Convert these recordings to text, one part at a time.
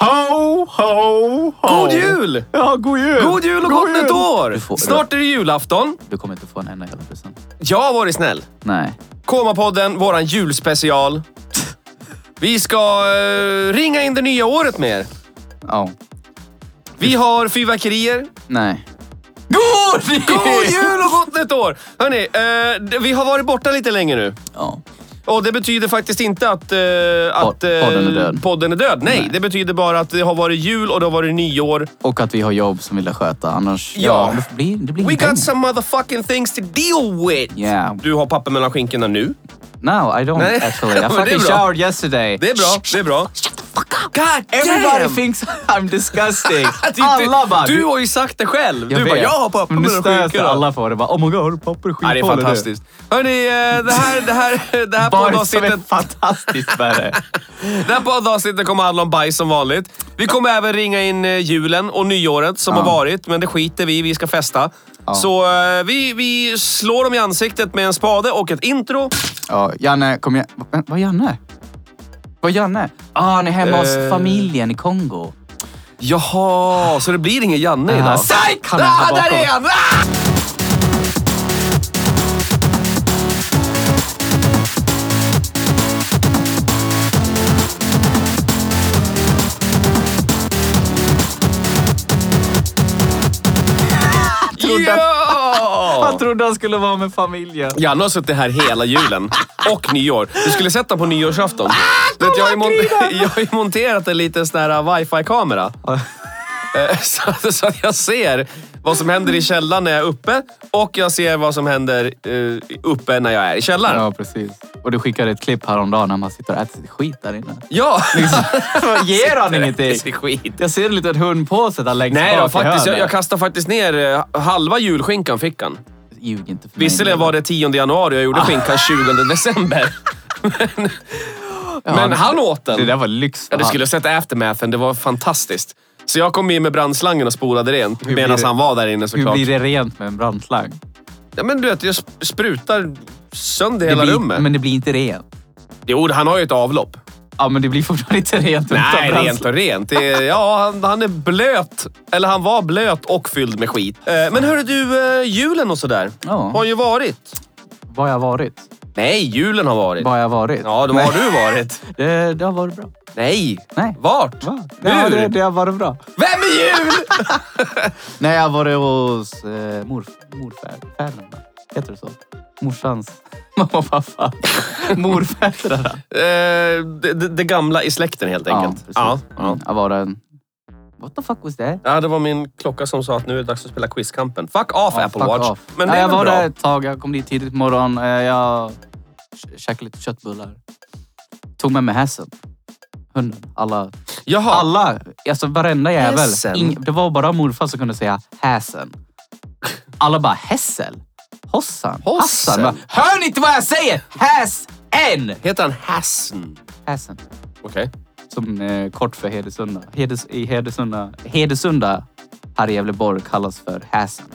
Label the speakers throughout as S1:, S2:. S1: Ho, ho, ho.
S2: God jul!
S1: Ja, god jul!
S2: God jul och gott nytt
S3: Du får-
S2: år! Snart är det julafton.
S3: Du kommer inte få en enda jävla present.
S2: Jag har varit snäll.
S3: Nej.
S2: Komapodden, våran julspecial. Vi ska eh, ringa in det nya året med er.
S3: Ja.
S2: Vi har fyrverkerier.
S3: Nej.
S2: God jul! God jul och gott nytt år! Hörni, eh, d- vi har varit borta lite länge nu.
S3: Ja.
S2: Och det betyder faktiskt inte att, eh, att eh,
S3: podden är död.
S2: podden är död. Nej, det betyder bara att det har varit jul och det har varit nyår.
S3: Och att vi har jobb som vi vill sköta. Annars...
S2: Ja.
S3: det blir, det blir
S2: We
S3: inga
S2: got
S3: pengar.
S2: some motherfucking things to deal with!
S3: Mm. Yeah.
S2: Du har papper mellan skinkorna nu.
S3: No, I don't
S2: Nej. Men det
S3: actually. I
S2: är
S3: fucking
S2: bra.
S3: showered yesterday.
S2: Det är bra, det är bra. God
S3: Everybody
S2: damn!
S3: thinks I'm disgusting.
S2: Att du-
S3: alla bara...
S2: Du har ju sagt det själv.
S3: Jag
S2: du bara,
S3: vet.
S2: jag har papper
S3: Men nu
S2: mellan
S3: stör sig
S2: skinkorna.
S3: alla på det. Bara, oh my god, har du papper och
S2: Ja, det är
S3: skitboll eller?
S2: fantastiskt. Hörni, eh, det här, det här, det här
S3: Bara som är
S2: poddavsnittet
S3: fantastiskt med det.
S2: Det här poddavsnittet kommer handla om bajs som vanligt. Vi kommer även ringa in eh, julen och nyåret som
S3: Ja.
S2: har varit, men det skiter vi i. Vi ska festa.
S3: Ja.
S2: Så eh, vi, vi slår dem i ansiktet med en spade och ett intro.
S3: Ja, Janne, kom igen. Va- Vad Janne? Vad Janne? Ah, han är hemma hos
S2: Eh.
S3: familjen i Kongo.
S2: Jaha, så det blir ingen Janne
S3: idag?
S2: Psych!
S3: Han är här
S2: Ah, där
S3: bakom.
S2: är han! Ah!
S3: Trodde att-
S2: Ah! Ja!
S3: Han trodde han skulle vara med familjen.
S2: Janne har suttit här hela julen och nyår. Du skulle sett honom på nyårsafton. Du vet, jag, har ju mon- jag har ju monterat en liten sån här wifi-kamera. Eh, så, så att jag ser vad som händer i källaren när jag är uppe och jag ser vad som händer eh, uppe när jag är i källaren. Ja.
S3: Ja, precis. Och du skickade ett klipp häromdagen när man sitter och äter sitt skit där inne. Liksom. Ger han
S2: Det
S3: ingenting?
S2: är skit.
S3: Jag ser en liten hundpåse där längst
S2: Nej
S3: bak
S2: då,
S3: i
S2: faktiskt. Jag,
S3: hörnet.
S2: jag kastar faktiskt ner eh, halva julskinkan fick han.
S3: Ljug inte för mig.
S2: Visserligen var det 10 januari jag gjorde skinkan 20 december.
S3: Ja,
S2: Men han åt den.
S3: Det där var lyx.
S2: Ja, du skulle ha sett aftermathen. Det var fantastiskt. Så jag kom in med brandslangen och spolade rent
S3: blir
S2: medan
S3: det-
S2: han var där inne
S3: Hur
S2: såklart.
S3: blir det rent med en brandslang?
S2: Ja, men du vet, jag sp- sprutar sönder hela
S3: det blir,
S2: rummet.
S3: men det blir inte rent.
S2: Jo, han har ju ett avlopp.
S3: Ja, men det blir fortfarande inte rent utan
S2: Nej,
S3: brandslang.
S2: rent och rent. Det är, ja, han, han är blöt. Eller han var blöt och fylld med skit. Eh, Men hörru du, eh, julen och sådär
S3: Ja.
S2: har ju varit.
S3: Var jag varit?
S2: Nej, julen har varit.
S3: Var jag varit?
S2: Ja, då
S3: Nej.
S2: har du varit.
S3: Det, det har varit bra.
S2: Nej.
S3: Nej.
S2: Vart?
S3: Va? Ja,
S2: Hur?
S3: det, det har varit bra.
S2: Vem är jul?
S3: Nej, jag har varit hos eh, morf- morfäderna. Heter det så? Morsans mamma och pappa. Morfäderna.
S2: Eh, det, det, det gamla i släkten helt enkelt.
S3: precis.
S2: Ja, ja.
S3: Mm, Jag var en... What the fuck was that?
S2: Ja, det var min klocka som sa att nu är det dags att spela Quizkampen. Fuck off
S3: Ja,
S2: Apple
S3: fuck
S2: Watch.
S3: off.
S2: Men det
S3: Nej,
S2: är
S3: jag
S2: väl
S3: var
S2: bra.
S3: där ett tag. Jag kom dit tidigt på morgonen. Eh, Jag kä- käkade lite köttbullar. Tog med mig hästen. Hunden. Alla.
S2: Jaha.
S3: Alla. Alltså varenda jävel.
S2: Hässen?
S3: Ing, det var bara morfar som kunde säga häsen. Alla bara hässel. Hossan.
S2: Hossen.
S3: Hassan. Bara, Hör ni inte vad jag säger? Häsen.
S2: Heter han Hassan?
S3: Häsen.
S2: Okej.
S3: Som eh, kort för Hedesunda. Hedes, I Hedesunda, Hedesunda här i Gävleborg kallas för häsen.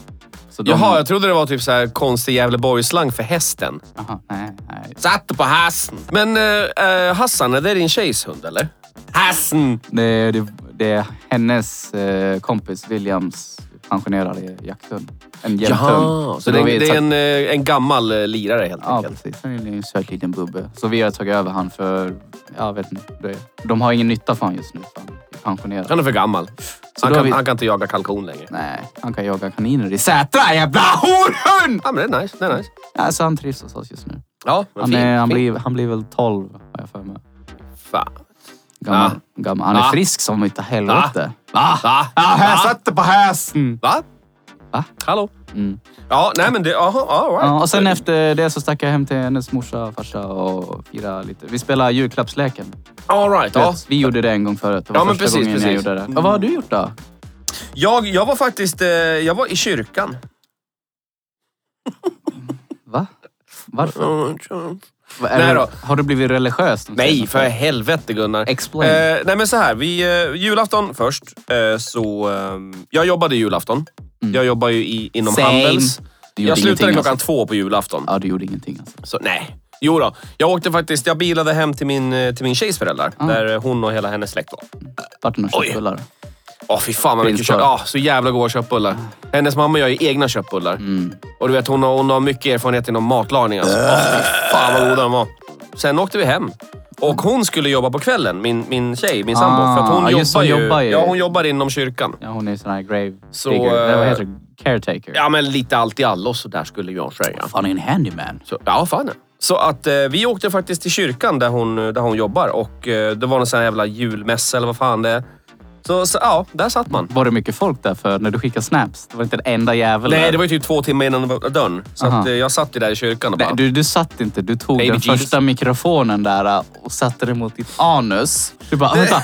S3: Så de-
S2: Jaha, jag trodde det var typ så här konstig Gävleborgsslang för hästen.
S3: Aha, nej, nej.
S2: Satt på Hassan. Men eh, eh, Hassan, är det din tjejs hund eller? Hassan!
S3: Det, det, det är hennes eh, kompis Williams pensionerade jakthund. En jämthund.
S2: Jaha, så det,
S3: då
S2: är-
S3: har vi
S2: det är
S3: tagit-
S2: en, eh, en gammal eh, lirare helt
S3: Ja,
S2: enkelt.
S3: precis. En, en söt liten bubbe. Så vi har tagit över han för... Jag vet inte. Det, de har ingen nytta för han just nu. för Han är pensionerad.
S2: Han är för gammal.
S3: Så
S2: Han
S3: då har
S2: kan,
S3: vi-
S2: han kan inte jaga kalkon längre.
S3: Nej, han kan jaga kaniner i Sätra, jävla horhund!
S2: Ja, men det är nice. Det är nice.
S3: Alltså han trivs hos oss just nu.
S2: Ja, men
S3: Han,
S2: fin,
S3: är, han,
S2: fin.
S3: blir, han blir väl 12, har jag för mig.
S2: Fan. Ah.
S3: Gammal, gammal. Han är
S2: Ah.
S3: frisk som utav helvete. Ah.
S2: Va? Va?
S3: satt på hästen!
S2: Va?
S3: Va?
S2: Hallå?
S3: Mm.
S2: Ja, nej men det... Jaha, all right.
S3: Ja, och sen efter det så stack jag hem till hennes morsa och farsa och firade lite. Vi spelade julklappsleken.
S2: All right,
S3: Du
S2: ja.
S3: vet, Vi gjorde det en gång förut. Det var
S2: Ja, men
S3: första
S2: precis,
S3: gången jag
S2: precis.
S3: gjorde det. Och vad har du gjort då?
S2: Jag, jag var faktiskt eh, jag var i kyrkan.
S3: Va? Varför? Va- är
S2: Mm. Nej
S3: det-
S2: då.
S3: Har du blivit religiös? de
S2: Oh, Nej,
S3: senaste-
S2: för helvete Gunnar.
S3: Explain.
S2: Eh, nej men så här, vi, eh, julafton först. Eh, så, eh, jag jobbade julafton.
S3: Mm.
S2: Jag jobbar ju i, inom
S3: Same.
S2: Handels.
S3: Du gjorde
S2: Jag slutade
S3: ingenting,
S2: klockan
S3: alltså.
S2: två på julafton.
S3: Ja, du gjorde ingenting alltså.
S2: Så nej. Jo då. jag åkte faktiskt, jag bilade hem till min, eh, till min tjejs föräldrar. Där hon och hela hennes släkt var.
S3: Vart det några
S2: Oj.
S3: köttbullar?
S2: Åh fy fan vad mycket
S3: Finns det?
S2: kött. Ja, så jävla goda köttbullar. Hennes mamma gör ju egna köttbullar.
S3: Mm.
S2: Och du vet, hon har, hon har mycket erfarenhet inom matlagning. Alltså. Åh, fy fan vad goda de var. Sen åkte vi hem. Och hon skulle jobba på kvällen, min, min tjej, min sambo.
S3: Ah,
S2: för att hon,
S3: ja, just
S2: jobbar
S3: det,
S2: ju,
S3: hon jobbar ju.
S2: Ja, hon jobbar inom kyrkan.
S3: Ja, hon är sån här grave
S2: Så,
S3: digger. Eller vad
S2: eh,
S3: heter det? Caretaker.
S2: Ja, men lite allt i allo så där skulle jag säga.
S3: Fan, är en handyman.
S2: Så, ja, fan. Så att eh, vi åkte faktiskt till kyrkan där hon, där hon jobbar och eh, det var någon sån här jävla julmässa eller vad fan det är. Så, så ja, där satt man.
S3: Var det mycket folk där? För när du skickade snaps, det var inte en enda jävel
S2: Nej,
S3: där.
S2: det var ju typ två timmar innan det var dörren. Så
S3: Aha.
S2: att, eh, jag satt ju där i kyrkan och bara...
S3: Nej, du, du satt inte. Du tog
S2: Baby
S3: den
S2: Jesus.
S3: första mikrofonen där äh, och satte den mot ditt anus. Du bara, vänta.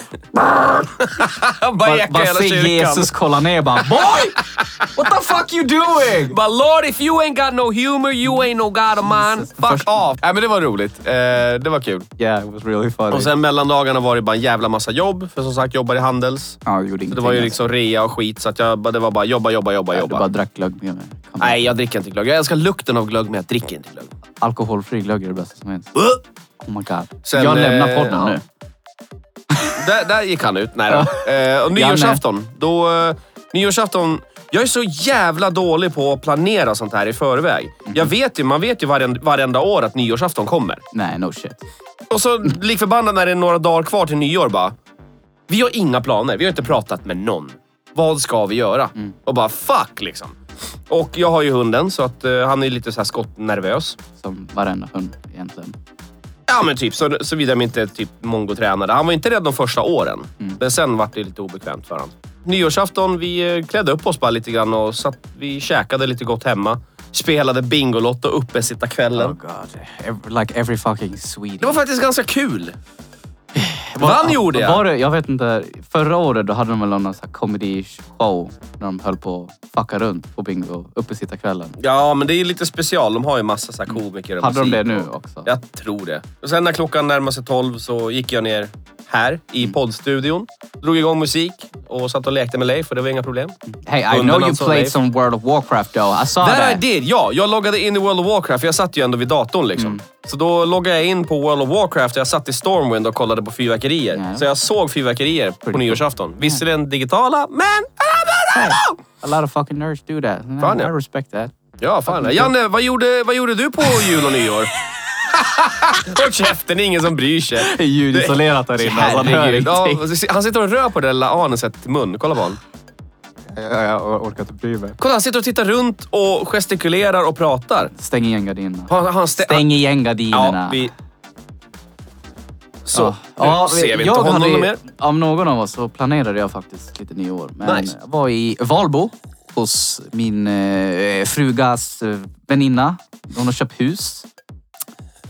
S2: Jag bara
S3: Bara,
S2: ekar
S3: bara
S2: hela
S3: se
S2: kyrkan.
S3: Jesus kolla ner bara. Boy! What the fuck you doing?
S2: But Lord, if you ain't got no humor, you ain't no god of mine.
S3: Jesus.
S2: Fuck
S3: Först-
S2: off. Nej, men det var roligt. Eh, det var kul.
S3: Yeah, it was really funny.
S2: Och sen mellan dagarna var det bara en jävla massa jobb. För som sagt, jobbar i Handels.
S3: ja, jag gjorde
S2: Så det
S3: ingenting
S2: var ju
S3: alls.
S2: liksom rea och skit. Så att jag, bara- det var bara jobba, jobba, jobba,
S3: Du bara
S2: jobba.
S3: drack glögg med mig. Kom.
S2: Nej, jag dricker inte glögg. Jag älskar lukten av glögg, men jag dricker inte glögg.
S3: Alkoholfri glögg är det bästa som finns.
S2: Äh!
S3: Oh my god.
S2: Sen,
S3: jag
S2: eh,
S3: lämnar podden
S2: ja.
S3: nu.
S2: Där, där gick han ut. Nej då. Eh, och nyårsafton. Då, eh, nyårsafton. Jag är så jävla dålig på att planera sånt här i förväg. Jag vet ju, man vet ju varenda, varenda år att nyårsafton kommer.
S3: Nej, no shit.
S2: Och så lik förbannat när det är några dagar kvar till nyår bara. Vi har inga planer. Vi har inte pratat med någon. Vad ska vi göra? Och bara fuck liksom. Och jag har ju hunden så att eh, han är lite så här skottnervös.
S3: Som varenda hund egentligen.
S2: Ja men typ, så- såvida de inte typ mongo tränade. Han var inte rädd de första åren.
S3: Mm.
S2: Men sen var det lite obekvämt för honom. Nyårsafton, vi eh, klädde upp oss bara lite grann och satt, vi käkade lite gott hemma. Spelade Bingolotto uppe sitta kvällen.
S3: god. Every, like every fucking Swede.
S2: Oh Det var faktiskt ganska kul. Vann gjorde jag.
S3: Var det, jag vet inte. Förra året då hade de väl någon sån här comedy show när de höll på att fucka runt på bingo uppe sitta kvällen.
S2: Ja, men det är ju lite special. De har ju massa så här komiker och
S3: Mm. Hade de
S2: musik
S3: det nu
S2: och-
S3: också?
S2: Jag tror det. Och sen när klockan närmade sig tolv så gick jag ner här i
S3: Mm.
S2: poddstudion. Drog igång musik och satt och lekte med Leif och det var inga problem.
S3: Hey, I
S2: Hunden
S3: know you
S2: alltså,
S3: played
S2: Leif.
S3: some World of Warcraft though. I saw
S2: Där I
S3: that.
S2: did! Ja, jag loggade in i World of Warcraft. för Jag satt ju ändå vid datorn liksom.
S3: Mm.
S2: Så då loggade jag in på World of Warcraft och jag satt i Stormwind och kollade på fyrverkerier.
S3: Ja.
S2: Så jag såg fyrverkerier på
S3: cool.
S2: nyårsafton. Visserligen digitala, men... Ah,
S3: A lot of fucking nerds do that. And
S2: Fan,
S3: I,
S2: ja.
S3: I respect that.
S2: Ja, fan. Janne, vad gjorde, vad gjorde du på jul och nyår? Håll käften, det är ingen som bryr sig.
S3: Det är ljudisolerat där inne.
S2: alltså,
S3: så alltså, han hör
S2: Herregud. Ja,
S3: ingenting.
S2: han sitter och rör på det där lilla anuset i mun. Kolla på honom.
S3: Ja, Jag orkar inte bry mig.
S2: Kolla, han sitter och tittar runt och gestikulerar och pratar.
S3: Stäng igen gardinerna.
S2: Han, han stä-
S3: Stäng igen
S2: han,
S3: gardinerna.
S2: ja, vi... Så, nu
S3: Ja,
S2: ser vi
S3: jag
S2: inte honom
S3: hade-
S2: mer.
S3: Om någon av oss så planerade jag faktiskt lite nyår. Men
S2: Nice.
S3: jag var i Valbo hos min eh, frugas eh, väninna. Hon har köpt hus.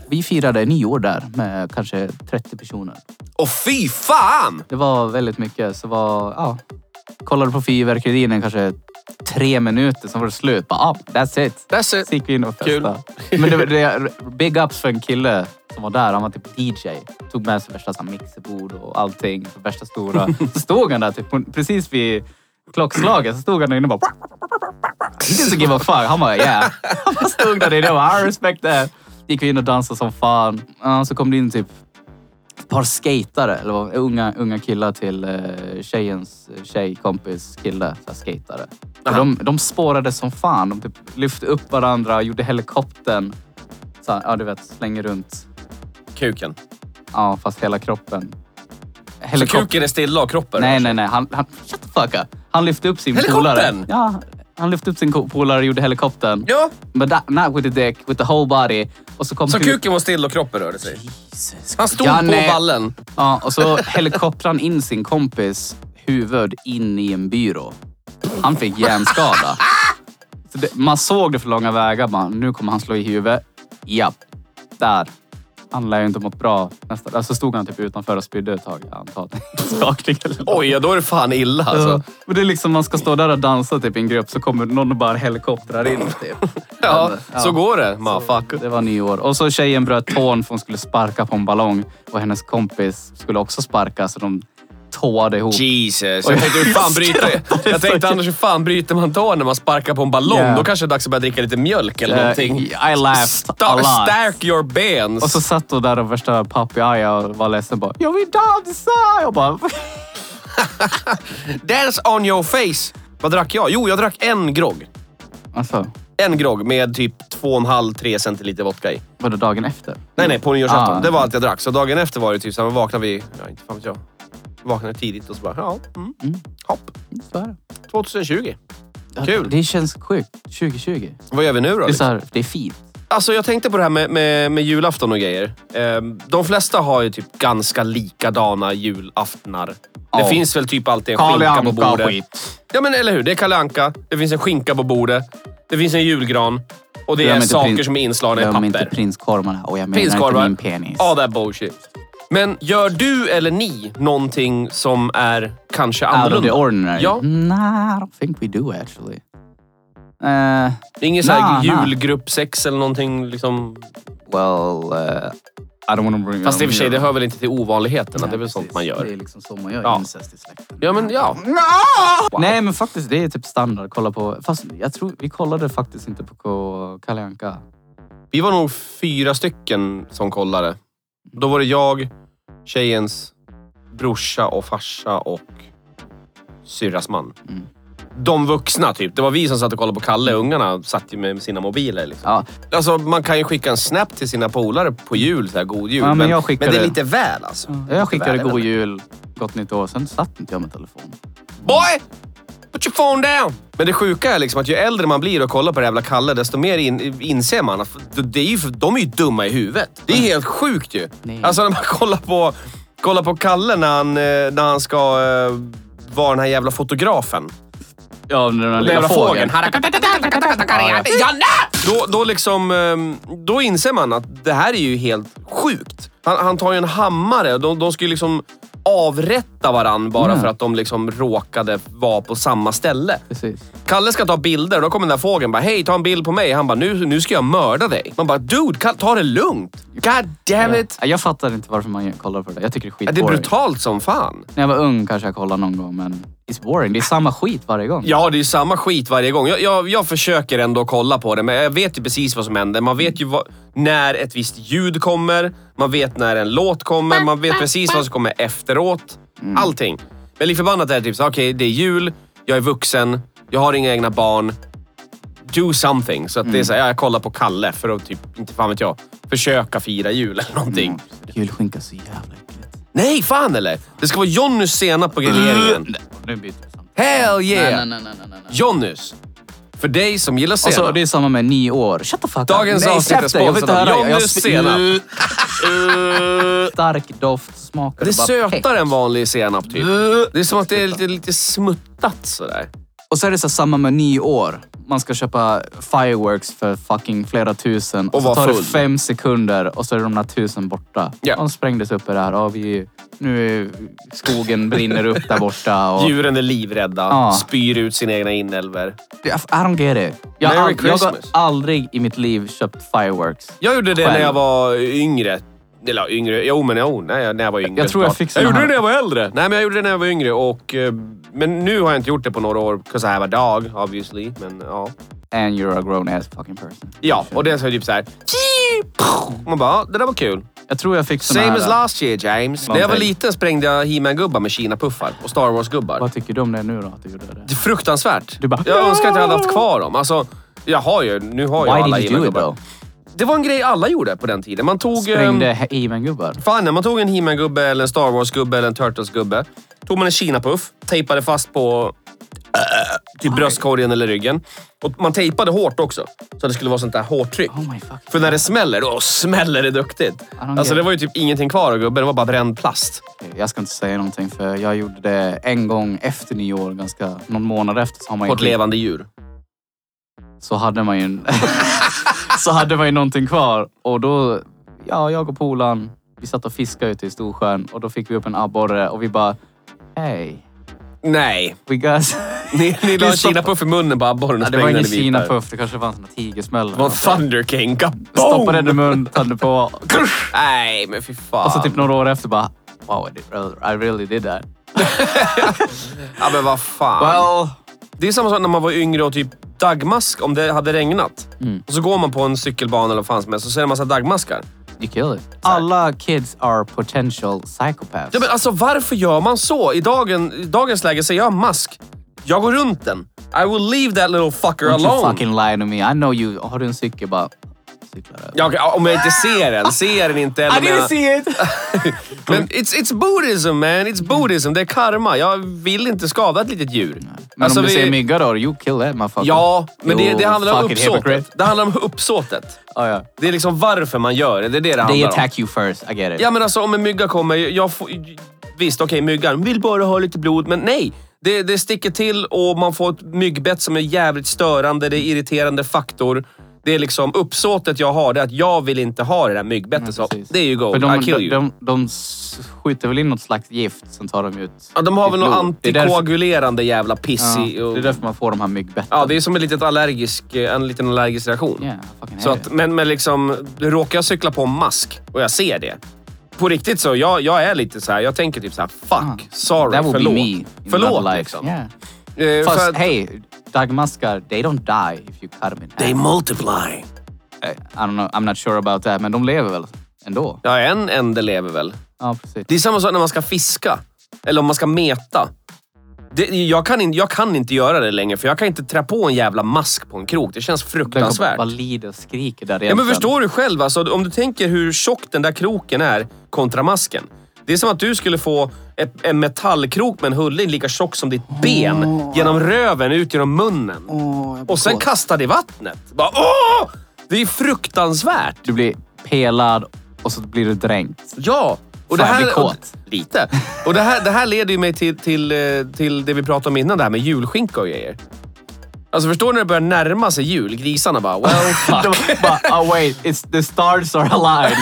S3: Vi firade nyår där med kanske 30 personer.
S2: Och fy fan!
S3: Det var väldigt mycket. Så var, ja, kollade på fyrverkerierna i kanske tre minuter, sen var det slut. Bara, ah, that's it.
S2: That's it.
S3: Så gick vi in och
S2: Kul.
S3: festade. Men det, det, big ups för en kille som var där. Han var typ DJ. Tog med sig värsta så här mixerbord och allting. Värsta stora. Så stod han där typ, på- precis vid klockslaget. Så stod han där inne och bara... He doesn't give a fuck. Han bara yeah. Han bara stod där inne och bara I respect that. Gick vi in och dansade som fan. Ja, så kom det in typ ett par skatare, eller vad, unga, unga killar till eh, tjejens tjejkompis kille, så här skatare. Och
S2: Aha.
S3: de, de spårade som fan. De typ lyfte upp varandra, gjorde helikoptern. Så här, ja, du vet, slänger runt.
S2: Kuken.
S3: Ja, fast hela kroppen.
S2: Så
S3: Helikop-
S2: kuken är stilla och kroppen
S3: Nej, nej, nej. Han, han, shut the fuck up. Han lyfte upp sin polare.
S2: Helikoptern!
S3: Ja, han lyfte upp sin ko- polare och gjorde helikoptern.
S2: Ja,
S3: But that, not with the dick, with the whole body. Och så kom
S2: så
S3: hu-
S2: kuken var still och kroppen rörde sig.
S3: Jesus.
S2: Han stod
S3: Janne.
S2: på ballen.
S3: Ja, och så helikoptrar han in sin kompis huvud in i en byrå. Han fick hjärnskada. Så det, man såg det för långa vägar. Bara, nu kommer han slå i huvudet. Japp. Där. Han lär ju inte mått bra. Nästa, alltså stod han typ utanför och spydde ett tag. Jag antar att det är skakning eller något.
S2: Oj, ja, då är det fan illa alltså.
S3: Alltså. Men det är liksom man ska stå där och dansa typ i en grupp så kommer någon och bara helikoptrar in. Typ.
S2: Ja,
S3: Ja.
S2: så går det. Motherfucker.
S3: Det var nyår. Och så tjejen bröt tån för hon skulle sparka på en ballong. Och hennes kompis skulle också sparka så de tåade ihop.
S2: Jesus. Jag tänkte, hur fan bryter, jag tänkte annars hur fan bryter man tån när man sparkar på en ballong?
S3: Ja.
S2: Då kanske det är dags att börja dricka lite mjölk eller
S3: Eh,
S2: någonting.
S3: I laughed
S2: Sta-
S3: a lot.
S2: Stark your bands.
S3: Och så satt hon där och värsta papegoja och var ledsen. Bara, jag vill dansa! Jag bara,
S2: Dance on your face. Vad drack jag? Jo, jag drack en grogg.
S3: alltså,
S2: En grogg med typ 2,5-3 centiliter vodka i.
S3: var det dagen efter?
S2: Nej, nej, på nyårsafton.
S3: Ah.
S2: Det var allt jag drack. Så dagen efter var det typ så här, vaknade vi... Ja, inte fan vet jag. Vaknade tidigt och så bara, ja. Mm. Hopp.
S3: Så är det.
S2: 2020. Kul.
S3: Det känns sjukt. 2020.
S2: Vad gör vi nu då?
S3: Det är, så
S2: Liksom?
S3: här, det är fint.
S2: Alltså, jag tänkte på det här med, med, med julafton och grejer. Ehm, de flesta har ju typ ganska likadana julaftnar. Det
S3: Ja.
S2: finns väl typ alltid en
S3: Kalle
S2: skinka på
S3: Anka
S2: bordet.
S3: skit.
S2: Ja, men eller hur? Det är Kalle Anka, det finns en skinka på bordet, det finns en julgran och det
S3: Glöm
S2: är
S3: inte
S2: saker
S3: prin-
S2: som är inslagna i
S3: Glöm inte
S2: papper.
S3: prinskorvarna. Och jag menar
S2: Prinskorvar.
S3: inte min penis.
S2: Ja, det är bullshit. Men gör du eller ni någonting som är kanske
S3: Out of the
S2: annorlunda?
S3: ordinary.
S2: Ja.
S3: Nah, I don't think we do actually. Eh,
S2: Det är ingen sån här
S3: Nah, nah.
S2: julgruppsex eller någonting? Liksom.
S3: well, eh, I don't want to bring
S2: Fast i och för sig,
S3: up-
S2: det hör väl inte till ovanligheterna.
S3: Nej,
S2: Det är väl sånt
S3: precis.
S2: man
S3: Det är
S2: gör.
S3: liksom så man gör
S2: Ja.
S3: incest i släkten.
S2: Ja, men ja. Wow.
S3: Nej, men faktiskt det är typ standard. Kolla på... Fast jag tror vi kollade faktiskt inte på K- Kalle Anka.
S2: Vi var nog fyra stycken som kollade. Då var det jag, tjejens brorsa och farsa och syrras man.
S3: Mm.
S2: De vuxna typ. Det var vi som satt och kollade på Kalle. Ungarna satt ju med sina mobiler. Liksom.
S3: Ja,
S2: Alltså, man kan ju skicka en snap till sina polare på jul. Så här, god jul.
S3: Ja, men
S2: men,
S3: jag
S2: men
S3: skickade-
S2: det är lite väl alltså. Lite
S3: jag skickade
S2: väl,
S3: god
S2: eller?
S3: jul, gott nytt år. Sen satt inte jag med telefon.
S2: Boy! Put your phone down! Men det sjuka är liksom att ju äldre man blir och kollar på det jävla Kalle, desto mer in, inser man att det är ju, för- de är ju dumma i huvudet. Det är helt sjukt ju.
S3: Nej.
S2: Alltså när man kollar på, kollar på Kalle när han, eh, när han ska eh, vara den här jävla fotografen.
S3: Ja, den där
S2: Den
S3: lilla
S2: jävla
S3: fågeln.
S2: fågeln. Då, då, liksom, ehm, då inser man att det här är ju helt sjukt. Han, han tar ju en hammare. De, de ska ju liksom avrätta varann bara
S3: Mm.
S2: för att de liksom råkade vara på samma ställe.
S3: Precis.
S2: Kalle ska ta bilder då kommer den där fågeln bara “Hej, ta en bild på mig”. Han bara “Nu, nu ska jag mörda dig”. Man bara “Dude, Kalle, ta det lugnt!” God damn it!
S3: Ja, Jag fattar inte varför man kollar på det. Jag tycker det är
S2: Ja, det är
S3: skitboring.
S2: brutalt som fan.
S3: När jag var ung kanske jag kollade någon gång, men it's boring. Det är samma skit varje gång.
S2: Ja, det är ju samma skit varje gång. Jag, jag, jag försöker ändå kolla på det, men jag vet ju precis vad som händer. Man vet ju vad, när ett visst ljud kommer, man vet när en låt kommer, man vet precis vad som kommer efteråt.
S3: Mm.
S2: Allting. Men lik förbannat är det typ så, okej, det är jul, jag är vuxen, jag har inga egna barn. Do something. Så att
S3: Mm.
S2: det är så här, ja, jag kollar på Kalle för att typ, inte fan vet jag, försöka fira jul eller någonting.
S3: Mm. Julskinka är så jävla äckligt.
S2: Nej, fan eller? Det ska vara Jonnys senap på grilleringen.
S3: Nu byter vi samtal.
S2: Hell yeah!
S3: Nej, nej, nej, nej, nej, nej.
S2: Jonnys. För dig som gillar
S3: Och
S2: senap.
S3: så, Alltså, det är samma med nyår. Shut the fuck up.
S2: Dagens
S3: Nej,
S2: avsnitt är
S3: släpp det. Jag vill
S2: sponsrat
S3: inte
S2: av
S3: höra det. Jag
S2: Jonnys
S3: sp-
S2: senap.
S3: Stark doft, smak.
S2: uh. Det är
S3: bara
S2: sötare
S3: peck.
S2: än vanlig senap typ. Det är som att det är lite, lite smuttat sådär.
S3: Och så är det så här samma med nyår. Man ska köpa fireworks för fucking flera tusen. Och,
S2: Och
S3: så
S2: vara
S3: tar det
S2: full.
S3: fem sekunder och så är de där tusen borta.
S2: Ja.
S3: De sprängdes upp i det här. Ja, vi, nu är, skogen brinner upp där borta. Och,
S2: Djuren är livrädda,
S3: Ja.
S2: spyr ut sina egna inälvor.
S3: I don't get it. Jag, har
S2: Merry
S3: ald- jag har
S2: Christmas.
S3: aldrig i mitt liv köpt fireworks.
S2: Jag gjorde det
S3: Själv.
S2: när jag var yngre. Eller ja, yngre, jo men jo, nej, jag- när jag var yngre.
S3: Jag tror jag
S2: såklart.
S3: fick
S2: jag
S3: såna
S2: gjorde
S3: här-
S2: det när jag var äldre. Nej men jag gjorde det när jag var yngre och... eh, Men nu har jag inte gjort det på några år. 'Cause I have a dog obviously. Men ja.
S3: And you're a grown ass fucking person.
S2: Ja, och det är så typ såhär... Man bara, ja, det där var kul.
S3: Jag tror jag fick såna
S2: Same
S3: här...
S2: as last year James. När jag var liten sprängde jag He-Man-gubbar med Kina-puffar och Star Wars-gubbar.
S3: Vad tycker du om det nu då? Att du gjorde det?
S2: Det är fruktansvärt.
S3: Du bara,
S2: jag önskar att jag hade haft kvar dem. Alltså, jag har ju, nu har jag alla
S3: Why did you do it
S2: He-Man-gubbar.
S3: though?
S2: Det var en grej alla gjorde på den tiden. Man tog... ehm,
S3: Sprängde He-Man-gubbar?
S2: Fan, när man tog en He-Man-gubbe, eller en Star Wars-gubbe eller en Turtles-gubbe. Tog man en Kina-puff, tejpade fast på äh, till bröstkorgen eller ryggen. Och man tejpade hårt också. Så det skulle vara sånt där hårt tryck.
S3: Oh my fuck.
S2: För när det smäller, då smäller det duktigt.
S3: don't
S2: Alltså
S3: get
S2: det var ju typ ingenting kvar av gubben, det var bara bränd plast.
S3: Jag ska inte säga någonting för jag gjorde det en gång efter nyår, ganska någon månad efter. Så, har man
S2: På
S3: ju
S2: ett levande djur.
S3: så hade man ju en, så hade man ju någonting kvar. Och då, ja, jag och polaren, vi satt och fiskade ute i Storsjön och då fick vi upp en abborre och vi bara, hej.
S2: Nej.
S3: We guys.
S2: Ni, ni la en
S3: Vi stoppar-
S2: kinapuff i munnen på abborren och
S3: Ja, det var
S2: sprängde
S3: ingen
S2: den i bitar.
S3: kinapuff, det kanske fanns några tigersmällar.
S2: Det var en Thunder King. Kaboom!
S3: Stoppade den i munnen, tände på. Alltså, typ
S2: Nej, men fy fan.
S3: Och så typ några år efter bara, wow, I, did, I really did that.
S2: Ja, men vad fan.
S3: Well,
S2: Det är samma sak när man var yngre och typ dagmask om det hade regnat.
S3: Mm.
S2: Och så går man på en cykelbana eller vad fan som helst och så är det en massa dagmaskar.
S3: you killed it. Alla kids are potential psychopaths.
S2: Ja, men alltså varför gör man så? I, dagen, i dagens läge säger jag mask. Jag går runt den. I will leave that little fucker
S3: Don't you
S2: alone.
S3: fucking lie to me. I know you. Har du en cykel bara... Cykla över.
S2: Ja, okej, ja, om jag inte ser den. Ser den inte. Eller menar-
S3: see it!
S2: Men it's, it's buddhism man. It's buddhism. Det är karma. Jag vill inte skada ett litet djur. Alltså,
S3: Men om du säger mygga då, you kill that motherfucker.
S2: Ja, men det,
S3: You
S2: det handlar om
S3: fucking
S2: uppsåtet.
S3: hypocrite.
S2: Det handlar om uppsåtet.
S3: Ja, ja.
S2: Det är liksom varför man gör det. Det är det det
S3: They
S2: handlar om.
S3: attack you first, I get it.
S2: Ja men alltså om en mygga kommer, jag får, visst okej myggan vill bara ha lite blod, men nej. Det, det sticker till och man får ett myggbett som är jävligt störande, det är irriterande faktor. Det är liksom uppsåtet jag har, det är att jag vill inte ha det där myggbettet. så
S3: precis.
S2: det är ju go,
S3: För de,
S2: I kill
S3: de,
S2: you. De,
S3: de, de s- skjuter väl in något slags gift, sen tar de ut...
S2: ja, de har väl
S3: ditt
S2: något
S3: blod. Det är därför-
S2: antikoagulerande jävla piss i.
S3: Ja,
S2: Och,
S3: det är därför man får de här myggbetten.
S2: ja, det är som en, litet allergisk, eh, en liten allergisk reaktion.
S3: Yeah, I fucking
S2: Så
S3: hate
S2: att,
S3: it.
S2: men, men liksom, råkar jag cykla på en mask och jag ser det. På riktigt så, jag, jag är lite så här, jag tänker typ så här, fuck, sorry,
S3: Ah, That would
S2: förlåt.
S3: be me in another
S2: förlåt
S3: life.
S2: liksom.
S3: Yeah.
S2: Eh, för
S3: Fast
S2: att-
S3: hey, dagmaskar, they don't die if you cut them in half.
S2: They multiply.
S3: I don't know, I'm not sure about that, men de lever väl ändå?
S2: Ja, en ände lever väl.
S3: Ja, precis.
S2: Det är samma sak när man ska fiska. Eller om man ska meta. Det, jag, kan in, jag kan inte göra det längre, för jag kan inte trä på en jävla mask på en krok. Det känns
S3: Den kommer
S2: fruktansvärt.
S3: bara lida och skriker där
S2: Ja, men förstår du själv, alltså, om du tänker hur tjock den där kroken är kontra masken. Det är som att du skulle få ett, en metallkrok med en hulling lika tjock som ditt ben genom röven ut genom munnen. och sen kasta det i vattnet. Bara, åh! Det är fruktansvärt.
S3: Du blir pelad och så blir du dränkt.
S2: Ja. Och
S3: Fan, jag blir
S2: och-
S3: kåt.
S2: lite. Och det här, det här leder ju mig till, till, eh, till det vi pratade om innan, det här med julskinka och grejer. Alltså förstår du när det börjar närma sig jul? Grisarna bara, well fuck.
S3: De bara, oh wait, it's, the stars are aligned.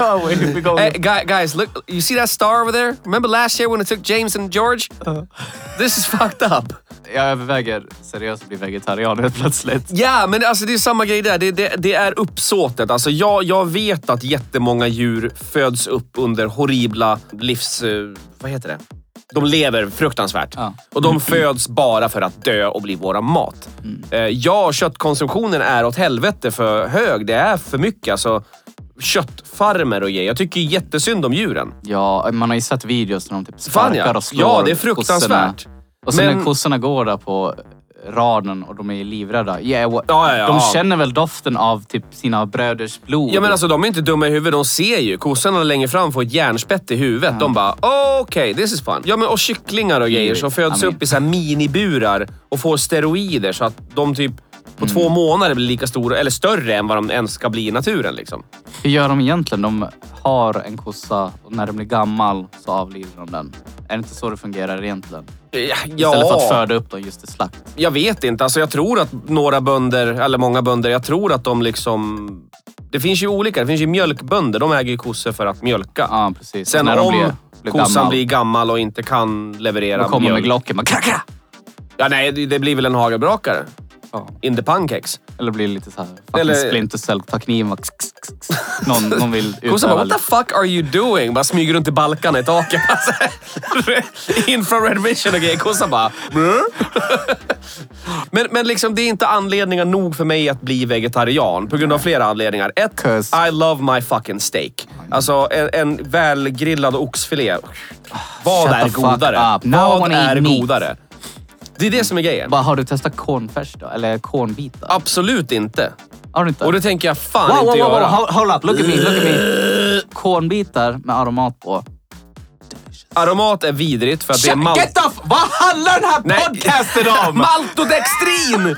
S3: oh, wait, we go.
S2: Hey, guy, guys, look, you see that star over there? Remember last year when it took James and George? This is fucked up.
S3: Jag överväger seriöst att bli vegetarian helt plötsligt.
S2: Ja, men alltså det är samma grej där. Det, det, det är uppsåtet. Alltså jag, jag vet att jättemånga djur föds upp under horribla livs... eh, Vad heter det? De lever fruktansvärt.
S3: Ja.
S2: Och de föds bara för att dö och bli våra mat. Eh, Ja, köttkonsumtionen är åt helvete för hög. Det är för mycket. Alltså, köttfarmer och grejer. Jag tycker ju jättesynd om djuren.
S3: Ja, man har ju sett videos när de typ
S2: Fan
S3: sparkar
S2: ja.
S3: och slår
S2: ja, det är fruktansvärt.
S3: kossorna. Och sen
S2: Men-
S3: när kossorna går där på raden och de är livrädda. Yeah, what?
S2: Ja, ja, ja.
S3: De känner väl doften av typ sina bröders blod.
S2: Ja men alltså de är inte dumma i huvudet, de ser ju. Kossorna längre fram får ett järnspett i huvudet. De bara okej, this is fun. Ja men och kycklingar och grejer som föds
S3: Amen.
S2: upp i så här miniburar och får steroider så att de typ på
S3: Mm.
S2: två månader blir lika stora, eller större än vad de ens ska bli i naturen liksom.
S3: Hur gör de egentligen? De har en kossa och när den blir gammal så avlivar de den. Är det inte så det fungerar egentligen?
S2: Ja,
S3: Istället för att
S2: ja
S3: föda upp dem just till slakt.
S2: jag vet inte. Alltså jag tror att några bönder, eller många bönder, jag tror att de liksom... Det finns ju olika. Det finns ju mjölkbönder. De äger ju kossor för att mjölka.
S3: Ja, precis. Alltså,
S2: Sen
S3: när
S2: om
S3: de blir, blir
S2: kossan
S3: gammal,
S2: blir gammal och inte kan
S3: då
S2: leverera
S3: kommer med
S2: mjölk.
S3: Glocken bara kracka!
S2: ja, nej, det det blir väl en hagelbrakare.
S3: Ja.
S2: In the pancakes.
S3: Eller blir lite så här, fucking
S2: Eller-
S3: Splinter Cell, tar kniven och kss, kss, kss, kss. någon, någon vill
S2: Kossan
S3: utöva
S2: bara, what the fuck are you doing? Bara smyger runt i balkarna i taket. Alltså, Infrared vision och grejer. Kossan bara... "Brr." men men liksom, det är inte anledningar nog för mig att bli vegetarian. På grund av flera anledningar. Ett,
S3: 'Cause-
S2: I love my fucking steak. Alltså en, en välgrillad oxfilé. Vad
S3: Shut
S2: är
S3: the fuck
S2: godare?
S3: up. Now I
S2: Vad
S3: wanna eat
S2: är
S3: meat.
S2: godare? Det är det som är grejen.
S3: Bara, har du testat cornfärs då? Eller cornbitar?
S2: Absolut inte.
S3: Har du inte?
S2: Och det tänker jag fan
S3: wow, wow,
S2: inte
S3: wow, wow,
S2: göra.
S3: hold- hold up, look at me, look at me. Cornbitar med aromat på.
S2: Aromat är vidrigt för att det är malt.
S3: Get off! Vad handlar den här podcasten om?
S2: Maltodextrin!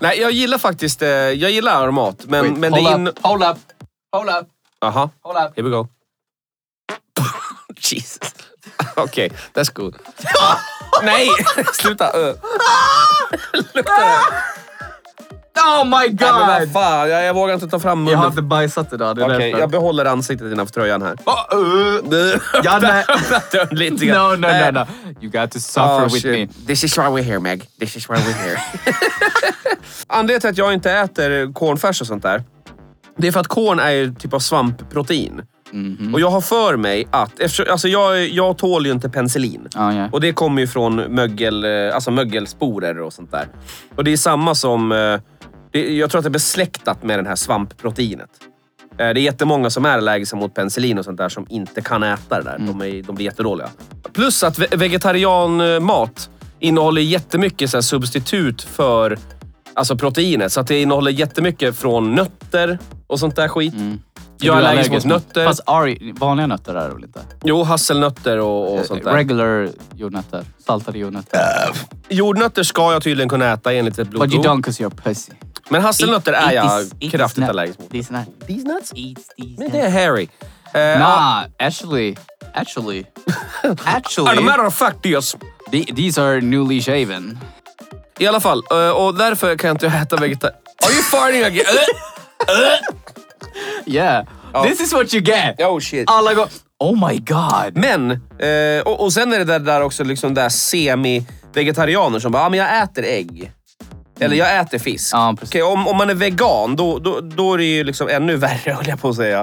S2: Nej, jag gillar faktiskt eh, jag gillar aromat. Men,
S3: Wait,
S2: men det
S3: hold,
S2: är in...
S3: up, hold up, hold up,
S2: Aha,
S3: hold up.
S2: here we go. Jesus. Okej, that's good. Nej, sluta. Uh.
S3: Oh my
S2: Nej, men vad
S3: god!
S2: fan, jag, jag vågar inte ta fram
S3: Jag har
S2: munnen.
S3: inte bajsat idag, det är
S2: Okej,
S3: därför.
S2: jag behåller ansiktet innanför tröjan här.
S3: Oh, uh, ja, nej.
S2: Öppna dörren lite grann.
S3: No, no, no, no. You got to suffer with me.
S2: Ah, This is why we're here, Meg. This is why we're here. Anledningen till att jag inte äter kornfärs och sånt där, det är för att korn är ju typ av svampprotein.
S3: Mhm.
S2: Och jag har för mig att... Eftersom, alltså jag, jag tål ju inte penicillin.
S3: Ja, ja.
S2: Och det kommer ju från mögel, eh, alltså mögelsporer och sånt där. Och det är samma som... eh, Det, jag tror att det är besläktat med den här svampproteinet. Eh, Det är jättemånga som är allergiska mot penicillin och sånt där som inte kan äta det där. De, är, de blir jättedåliga. Plus att ve- vegetarianmat innehåller jättemycket så här substitut för alltså proteinet. Så att det innehåller jättemycket från nötter och sånt där skit. Jag Mm. är
S3: Du
S2: allergisk mot nötter.
S3: Fast are, vanliga nötter är det väl inte? Eh,
S2: Jo, hasselnötter och, och sånt där.
S3: Regular jordnötter. Saltade jordnötter.
S2: Jordnötter ska jag tydligen kunna äta enligt ett
S3: But you
S2: blodprov.
S3: don't cause you're a pussy.
S2: Men hasselnötter är
S3: Eat
S2: jag
S3: this- eat this
S2: kraftigt
S3: nut.
S2: allergisk mot.
S3: These nuts.
S2: These nuts?
S3: Eat these
S2: Men
S3: nuts.
S2: det är Harry. Eh,
S3: Nah, actually, actually,
S2: As a
S3: actually,
S2: matter of fact, yes.
S3: the- these are newly shaven.
S2: I alla fall, eh, och därför kan jag inte äta vegetar... Are you farting again?
S3: Yeah, this is what you get.
S2: oh shit.
S3: Alla går, oh my god.
S2: Men, eh, och, och sen är det där, där också liksom där semi-vegetarianer som bara, ah, men jag äter ägg. Eller jag äter fisk.
S3: Mm. Ja, precis.
S2: Okej, om, om man är vegan, då, då, då är det ju liksom ännu värre höll jag på att säga.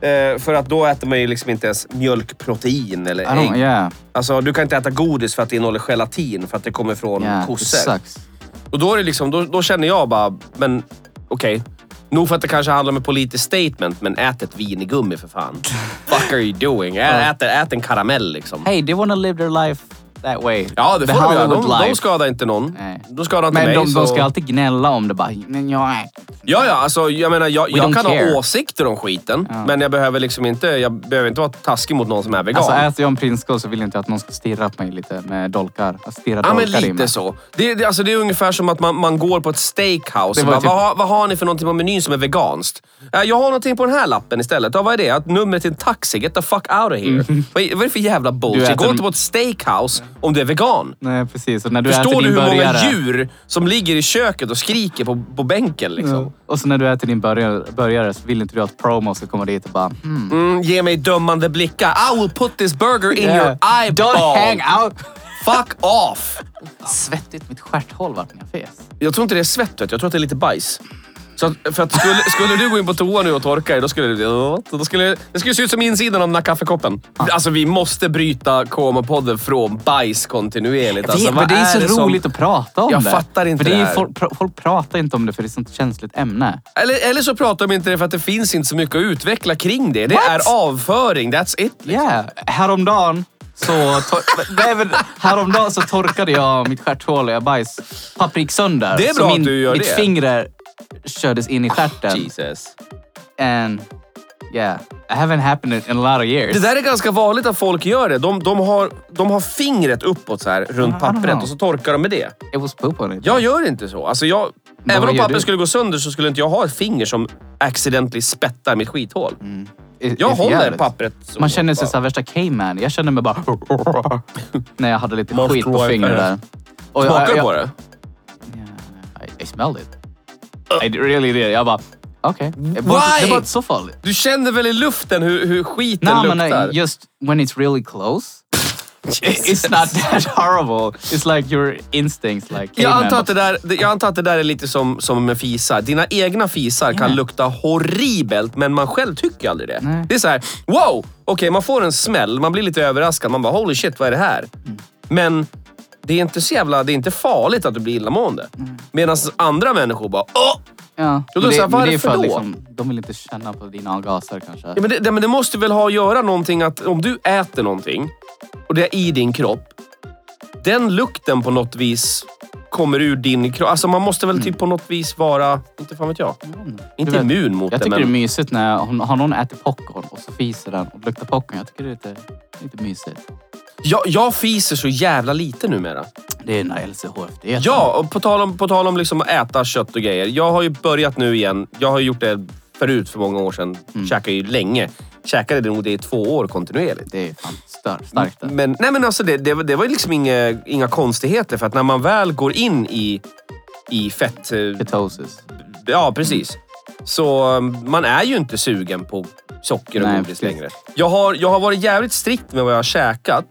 S2: Eh, för att då äter man ju liksom inte ens mjölkprotein eller
S3: I don't,
S2: ägg.
S3: yeah,
S2: Alltså, du kan inte äta godis för att det innehåller gelatin för att det kommer från
S3: yeah, it
S2: kossor.
S3: sucks.
S2: Och då, är det liksom, då, då känner jag bara, men okej. Nog för att det kanske handlar om ett politiskt statement, men ät ett vinigummi för fan. Fuck are you doing? Ä, ät, ät en karamell liksom.
S3: Hey, they wanna live their life that way.
S2: Ja, det
S3: The
S2: får de göra.
S3: Hollywood
S2: De, de
S3: life.
S2: skadar inte någon.
S3: Nej.
S2: De skadar inte
S3: Men
S2: mig.
S3: de,
S2: så...
S3: de ska alltid gnälla om det bara. Men jag är...
S2: Ja, ja, alltså, jag menar, jag,
S3: don't
S2: jag kan
S3: care.
S2: ha åsikter om skiten, men jag behöver liksom inte, jag behöver inte vara taskig mot någon som är vegan.
S3: Alltså äter jag en prinskorv så vill jag inte att någon ska stirra på mig lite med dolkar. Att stirra
S2: Ja,
S3: dolkar
S2: men
S3: i mig.
S2: lite så. Det, det, alltså, det är ungefär som att man, man går på ett steakhouse
S3: Det
S2: och
S3: var
S2: bara,
S3: typ-
S2: vad, har- vad har ni för någonting på menyn som är veganskt? "Eh, jag har någonting på den här lappen istället. Ja, vad är det? Att numret till en taxi. Get the fuck out of here. Vad, är- vad är det för jävla
S3: Mm. Du
S2: bullshit?
S3: äter-
S2: Gå inte på ett steakhouse om du är vegan.
S3: Nej, precis. Och när du äter
S2: Förstår du
S3: din
S2: hur
S3: burgare...
S2: många djur som ligger i köket och skriker på, på bänken? Liksom?
S3: Och så när du äter din burgare, burgare så vill inte du att promo ska komma dit och bara... Mm.
S2: Mm, ge mig dömande blickar. I will put this burger in your
S3: Yeah.
S2: eyeball.
S3: eh, Don't hang out!
S2: Fuck off!
S3: Svettigt mitt stjärthål vart när jag fes.
S2: Jag tror inte det är svett, vet du. jag tror att det är lite bajs. Så att, för att skulle, skulle du gå in på toa nu och torka dig, då skulle det... Då skulle, det skulle se ut som insidan av den här kaffekoppen. Alltså vi måste bryta KMA-podden från bajs kontinuerligt. Alltså,
S3: men
S2: vad
S3: det är så
S2: det som-
S3: roligt att prata om
S2: Jag
S3: det.
S2: fattar inte
S3: för
S2: det
S3: det. är ju
S2: här.
S3: folk, pr- folk pratar inte om det för det är ett sånt känsligt ämne.
S2: Eller, eller så pratar de inte det för att det finns inte så mycket att utveckla kring det. Det
S3: What?
S2: är avföring, that's it.
S3: Yeah. Häromdagen så, tor- Nej, men häromdagen så torkade jag mitt stjärthål och jag bajs papprik sönder.
S2: Det är
S3: Så
S2: bra
S3: min,
S2: att du gör
S3: mitt
S2: det. Ah,
S3: finger kördes in i stjärten.
S2: Jesus.
S3: And yeah, I haven't happened in a lot of years.
S2: Det där är ganska vanligt att folk gör det. De, de, har, de har fingret uppåt så här runt pappret och så torkar de med det.
S3: It was poop on it.
S2: Jag gör inte så. Alltså jag,
S3: Men
S2: även
S3: vad
S2: om
S3: gör
S2: papper
S3: du?
S2: skulle gå sönder så skulle inte jag ha ett finger som accidentally spettar mitt skithål.
S3: Mm. It-
S2: Jag
S3: it's
S2: håller
S3: jävligt.
S2: pappret. så.
S3: Man känner sig som värsta K-man. Jag kände mig bara... när jag hade lite
S2: Must
S3: skit på
S2: wipe
S3: fingret
S2: ass.
S3: där. Och jag-
S2: Smakar du
S3: jag-
S2: på det?
S3: Yeah, I, I smelled it. I really did. Jag bara, okej. Det var-
S2: Why?
S3: Det var inte så farligt.
S2: Du känner väl i luften hur, hur skiten
S3: No, man,
S2: luktar?
S3: I, just when it's really close. It's not that horrible. It's like your instincts. Like,
S2: jag,
S3: caveman.
S2: antar att det där, det- jag antar att det där är lite som, som med fisar. Dina egna fisar kan
S3: Ja.
S2: lukta horribelt, men man själv tycker aldrig det.
S3: Nej.
S2: Det är så här, wow! Okej, man får en smäll, man blir lite överraskad. Man bara, holy shit, vad är det här? Men det är inte så jävla, det är inte farligt att du blir illamående. Medan andra människor bara, åh!
S3: Ja.
S2: då
S3: men det-
S2: så här,
S3: men det är
S2: varför
S3: för liksom,
S2: då?
S3: de vill inte känna på dina avgaser kanske.
S2: Ja, men det, det, men det måste väl ha att göra någonting att om du äter någonting och det är i din kropp. Den lukten på något vis kommer ur din kropp. Alltså man måste väl typ på något vis vara, inte fan vet jag, inte
S3: Mm. vet,
S2: immun mot
S3: jag
S2: det.
S3: tycker
S2: Men
S3: det är mysigt när hon, har någon ätit popcorn och så fiser den och luktar popcorn. Jag tycker det är lite, lite mysigt.
S2: jag, jag fiser så jävla lite numera.
S3: Det är den här LCHF-dieten.
S2: Ja, och på tal om, på tal om liksom att äta kött och grejer. Jag har ju börjat nu igen. Jag har ju gjort det förut för många år sedan.
S3: Mm.
S2: Käkade ju länge. Käkade det nog det i två år kontinuerligt.
S3: Det är fan stör, starkt. det.
S2: Men, nej men alltså det, det, var- det var ju liksom inga, inga konstigheter för att när man väl går in i, i fett... eh,
S3: Ketosis.
S2: Ja, precis. Så eh, man är ju inte sugen på socker och
S3: Nej,
S2: godis
S3: precis.
S2: längre. Jag har, jag har varit jävligt strikt med vad jag har käkat.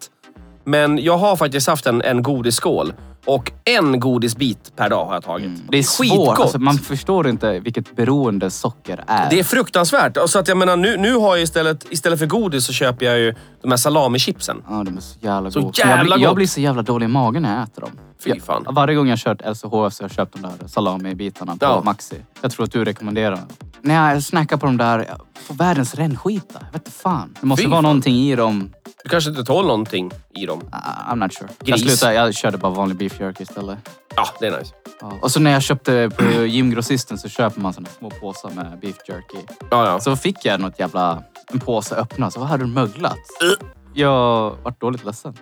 S2: Men jag har faktiskt haft en, en godisskål. Och en godisbit per dag har jag tagit.
S3: Det är svårt.
S2: Skitgott.
S3: Alltså, man förstår inte vilket beroende socker är.
S2: Det är fruktansvärt. Alltså att jag menar, nu, nu har jag istället, istället för godis så köper jag ju de här salamichipsen.
S3: Ja, de är så jävla
S2: Så
S3: goda. Men jag,
S2: jävla
S3: blir- jag
S2: gott.
S3: blir så jävla dålig i magen när jag äter dem.
S2: Fy
S3: Jag-
S2: fan.
S3: Varje gång jag har kört LCHF så har jag köpt de där salami-bitarna på
S2: Ja.
S3: Maxi. Jag tror att du rekommenderar dem. När jag snackar på de där, jag får världens rännskita. Jag vet inte fan. Det måste
S2: Fy
S3: vara
S2: fan.
S3: någonting i dem.
S2: Du kanske inte tål någonting i dem.
S3: I- I'm not sure. Jag
S2: Gris.
S3: slutade, jag körde bara vanlig beef jerky istället.
S2: Ja, det är nice.
S3: Ja. Och så när jag köpte på gymgrossisten så köper man såna små påsar med beef jerky.
S2: Ja, ja.
S3: Så fick jag något jävla, en påse öppna, så vad hade du möglat?
S2: Uh.
S3: Jag vart dåligt ledsen.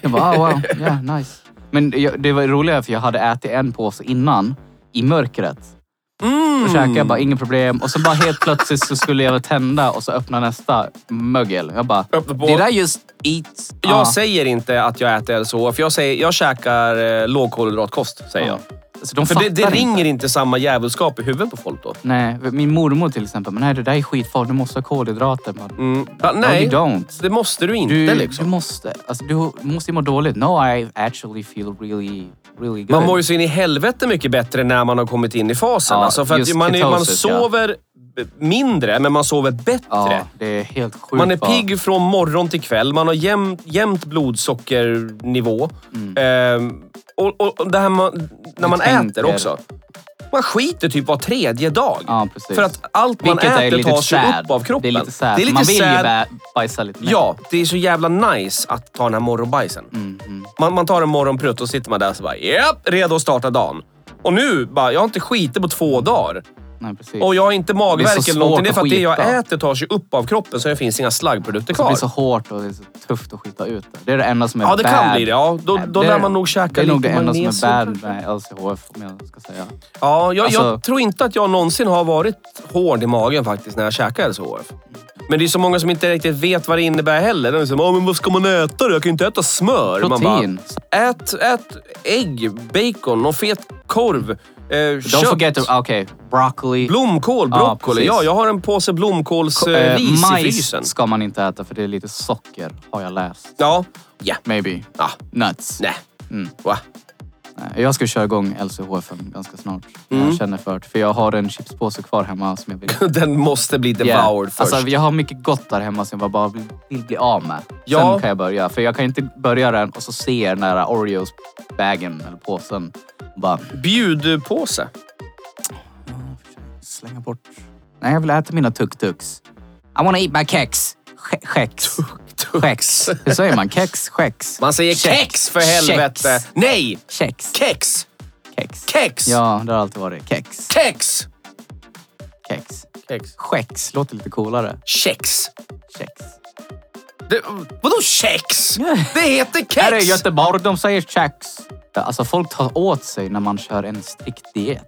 S3: Jag bara, ah, wow, yeah, nice. Men jag, det var roligare för jag hade ätit en påse innan i mörkret.
S2: Mm.
S3: Då käkade jag bara, inga problem. Och så bara helt plötsligt så skulle jag väl tända och så öppna nästa mögel. Jag bara,
S2: Öppna på.
S3: did I just eat?
S2: Jag
S3: Ah.
S2: säger inte att jag äter LCHF. Jag, säger, jag käkar eh, lågkolhydratkost, säger jag.
S3: Så de
S2: För det, det
S3: fattar inte.
S2: ringer inte samma djävulskap i huvudet på folk då.
S3: Nej, min mormor till exempel. Men nej, det där är skitfarligt. Du måste ha kolhydrater. Man.
S2: Mm. Ja,
S3: Nej.
S2: nej,
S3: No, you don't.
S2: det måste du inte
S3: Du, du
S2: liksom.
S3: måste. Alltså, du måste ju må dåligt. No, I actually feel really, really good.
S2: Man mår ju så in i helvete mycket bättre när man har kommit in i fasen.
S3: Ja,
S2: alltså för att
S3: just
S2: man, är, man
S3: ketosis, ja.
S2: sover b- mindre, men man sover bättre.
S3: Ja, det är helt sjukt.
S2: Man är
S3: va?
S2: pigg från morgon till kväll. Man har jämnt, jämnt blodsockernivå.
S3: Mm.
S2: Ehm, och, och och det här man, när man
S3: tänker.
S2: äter också. Man skiter typ var tredje dag.
S3: Ja, precis.
S2: För att allt man
S3: Vilket är
S2: äter
S3: lite
S2: tas ju
S3: sad.
S2: upp av kroppen.
S3: Det är lite sad.
S2: Det är lite
S3: man vill ju
S2: sad.
S3: bä- bajsa lite mer.
S2: Ja, det är så jävla nice att ta den här morgonbajsen.
S3: Mm,
S2: Man, man tar en morgonprutt och sitter man där och så bara japp, redo att starta dagen. Och nu bara, jag har inte skitit på två dagar.
S3: Nej, precis.
S2: Och jag har inte magvärk
S3: svårt
S2: eller någonting. Det är för att det
S3: att
S2: jag
S3: skita.
S2: äter tar sig upp av kroppen så det finns inga slaggprodukter
S3: det
S2: kvar.
S3: blir så hårt och det är så tufft att skita ut det. Det är det enda som är
S2: Ja, det
S3: bad.
S2: kan bli det. Ja, då,
S3: Nej,
S2: då
S3: det är-
S2: lär man nog käka
S3: Det är nog det
S2: lite
S3: enda som är
S2: magnesium
S3: bad
S2: kanske.
S3: med LCHF om jag ska säga.
S2: Ja, jag,
S3: Alltså-
S2: jag tror inte att jag någonsin har varit hård i magen faktiskt när jag käkar LCHF. Men det är så många som inte riktigt vet vad det innebär heller. De säger, "Ja, men vad ska man äta då? Jag kan ju inte äta smör. Man bara,
S3: Protein.
S2: ät, ät ägg, bacon, någon fet korv, eh,
S3: Don't
S2: kött,
S3: forget to... ah, Okej, broccoli.
S2: blomkål,
S3: Ja,
S2: broccoli.
S3: precis.
S2: ja, jag har en påse blomkålsris eh,
S3: eh,
S2: ris i
S3: majs
S2: frysen.
S3: ska man inte äta för det är lite socker, har jag läst.
S2: Ja, ja,
S3: Maybe.
S2: ja,
S3: Nuts.
S2: nej.
S3: Mm.
S2: Va?
S3: Nej, Jag ska köra igång LCHF ganska snart.
S2: Mm.
S3: Jag känner för det. För jag har en chipspåse kvar hemma som jag vill...
S2: Den måste bli devoured först.
S3: Alltså, jag har mycket gott där hemma som jag bara vill, vill bli av med.
S2: Ja.
S3: Sen kan jag börja. För jag kan inte börja den och så se den där Oreos-bagen eller påsen. Och bara
S2: Bjudpåse.
S3: slänga bort. Nej, jag vill äta mina tuk-tuks. I wanna eat my kex. Che- Chex. Chex. Hur säger man? Kex? Chex?
S2: Man säger kex, för helvete. Nej!
S3: Kex.
S2: Kex!
S3: Kex.
S2: Kex!
S3: Ja, det har alltid varit. Kex.
S2: Kex!
S3: Kex.
S2: Kex.
S3: Chex låter lite coolare.
S2: Kex.
S3: Chex.
S2: Det, vadå kex? Det heter
S3: Här är
S2: kex!
S3: Göteborg, de säger chex. Alltså folk tar åt sig när man kör en strikt diet.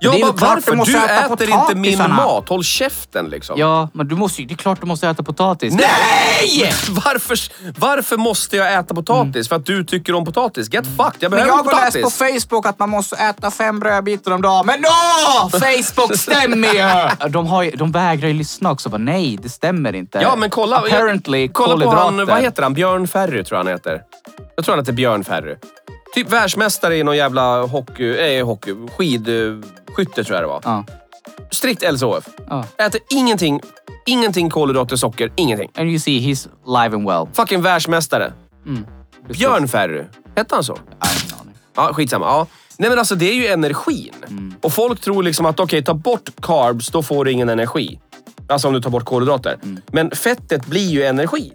S2: Jag
S3: Det är
S2: bara,
S3: ju klart
S2: varför?
S3: måste
S2: Du
S3: äta
S2: äter inte min
S3: potatisarna.
S2: mat. Håll käften liksom.
S3: Ja, men du måste ju, det är klart du måste äta potatis.
S2: Nej! Varför, varför måste jag äta potatis?
S3: Mm.
S2: För att du tycker om potatis? Get fucked, jag behöver potatis.
S3: Facebook att man måste äta fem brödbitar om dagen. Men då! Facebook stämmer ju! De, har ju, de vägrar ju lyssna också. Bara, nej, det stämmer inte.
S2: ja, men kolla.
S3: Apparently,
S2: jag, kolla på han,
S3: kolhydrater.
S2: vad heter han? Björn Ferry tror jag han heter. Jag tror han heter Björn Ferry. Typ världsmästare i någon jävla hockey... Eh, hockey skidskytte tror jag det var.
S3: Ja,
S2: Strikt LCHF.
S3: ja.
S2: Äter ingenting. Ingenting kolhydrater, socker, ingenting.
S3: And you see, he's live and well.
S2: Fucking världsmästare.
S3: Precis.
S2: Björn Ferry. Hette han så?
S3: Jag har ingen aning.
S2: Ja, skitsamma. Ja. Nej men alltså det är ju energin. Och folk tror liksom att okej, ta bort carbs, då får du ingen energi. Alltså om du tar bort kolhydrater. Men fettet blir ju energi.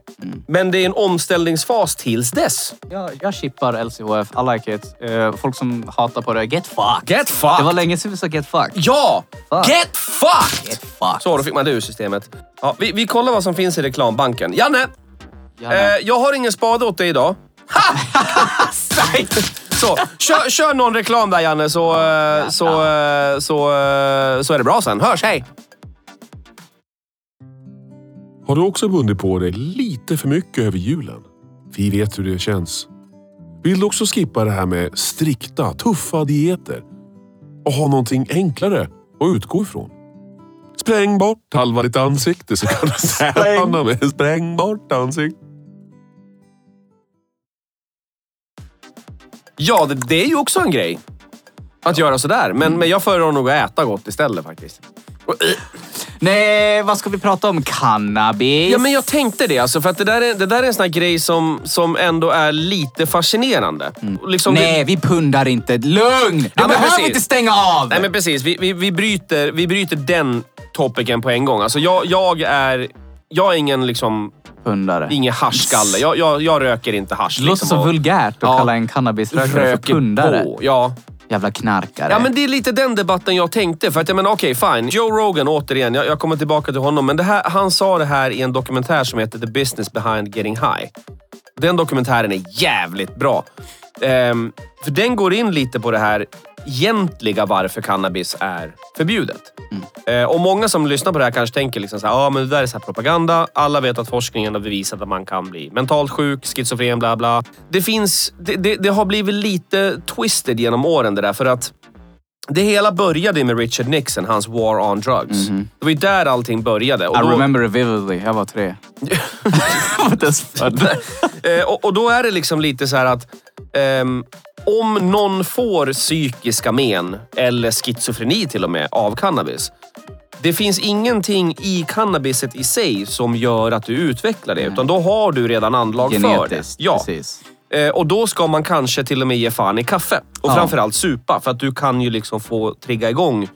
S2: Men det är en omställningsfas tills dess.
S3: Jag, jag chippar LCHF. I like it. Eh, folk som hatar på det, get fucked.
S2: Get fucked!
S3: Det var länge sedan vi sa get fucked.
S2: Ja!
S3: Fuck.
S2: Get fucked!
S3: Get fucked.
S2: Så, då fick man det ur systemet. Ja, vi, vi kollar vad som finns i reklambanken. Janne!
S3: Gärna.
S2: Eh, jag har ingen spade åt dig idag. Så, kör, kör någon reklam där Janne så, eh, så, eh, så, eh, så är det bra sen. Hörs, hej!
S1: Har du också bundit på dig lite för mycket över julen? Vi vet hur det känns. Vill du också skippa det här med strikta, tuffa dieter? Och ha någonting enklare att utgå ifrån? Spräng bort halva ditt ansikte så kan du träna med spräng bort ansikte.
S2: Ja, det, det är ju också en grej. Att göra sådär. Men, men jag föredrar nog att äta gott istället faktiskt. Och,
S3: Nej, vad ska vi prata om? Cannabis?
S2: Ja, men jag tänkte det. Alltså, för att det, där är, det där är en sån här grej som, som ändå är lite fascinerande. Liksom, vi-
S3: Nej, vi pundar inte. Lugn! Du
S2: men
S3: behöver
S2: precis.
S3: inte stänga av!
S2: Nej men precis, vi, vi, vi, bryter, vi bryter den topicen på en gång. Alltså jag, jag är... Jag är ingen liksom...
S3: Pundare.
S2: Ingen haschskalle. Jag, jag, jag röker inte hasch.
S3: Det låter
S2: liksom,
S3: så
S2: och
S3: vulgärt att
S2: Ja.
S3: kalla en cannabisrökare för
S2: röker
S3: pundare.
S2: på. Ja.
S3: Jävla knarkare.
S2: ja, men det är lite den debatten jag tänkte. För att jag menar, okej fine. Joe Rogan återigen, jag, jag kommer tillbaka till honom. Men det här, han sa det här i en dokumentär som heter The Business Behind Getting High. Den dokumentären är jävligt bra. Ehm, för den går in lite på det här egentliga varför cannabis är förbjudet.
S3: Mm.
S2: Eh, och många som lyssnar på det här kanske tänker liksom så här, ah, men det där är så här propaganda. Alla vet att forskningen har bevisat att man kan bli mentalt sjuk, schizofren, bla bla. Det, finns, det, det, det har blivit lite twisted genom åren det där för att det hela började med Richard Nixon, hans war on drugs. Det var ju där allting började. Och
S3: Mhm. I
S2: då-
S3: remember it vividly. Jag var tre. jag var inte ens född.
S2: Eh, och, och då är det liksom lite så här att ehm, om någon får psykiska men eller schizofreni till och med av cannabis. Det finns ingenting i cannabiset i sig som gör att du utvecklar det, utan då har du redan anlag för det.
S3: Genetiskt.
S2: Ja.
S3: Precis.
S2: Eh, och då ska man kanske till och med ge fan i kaffe. Och
S3: Ja.
S2: framförallt supa, för att du kan ju liksom få trigga igång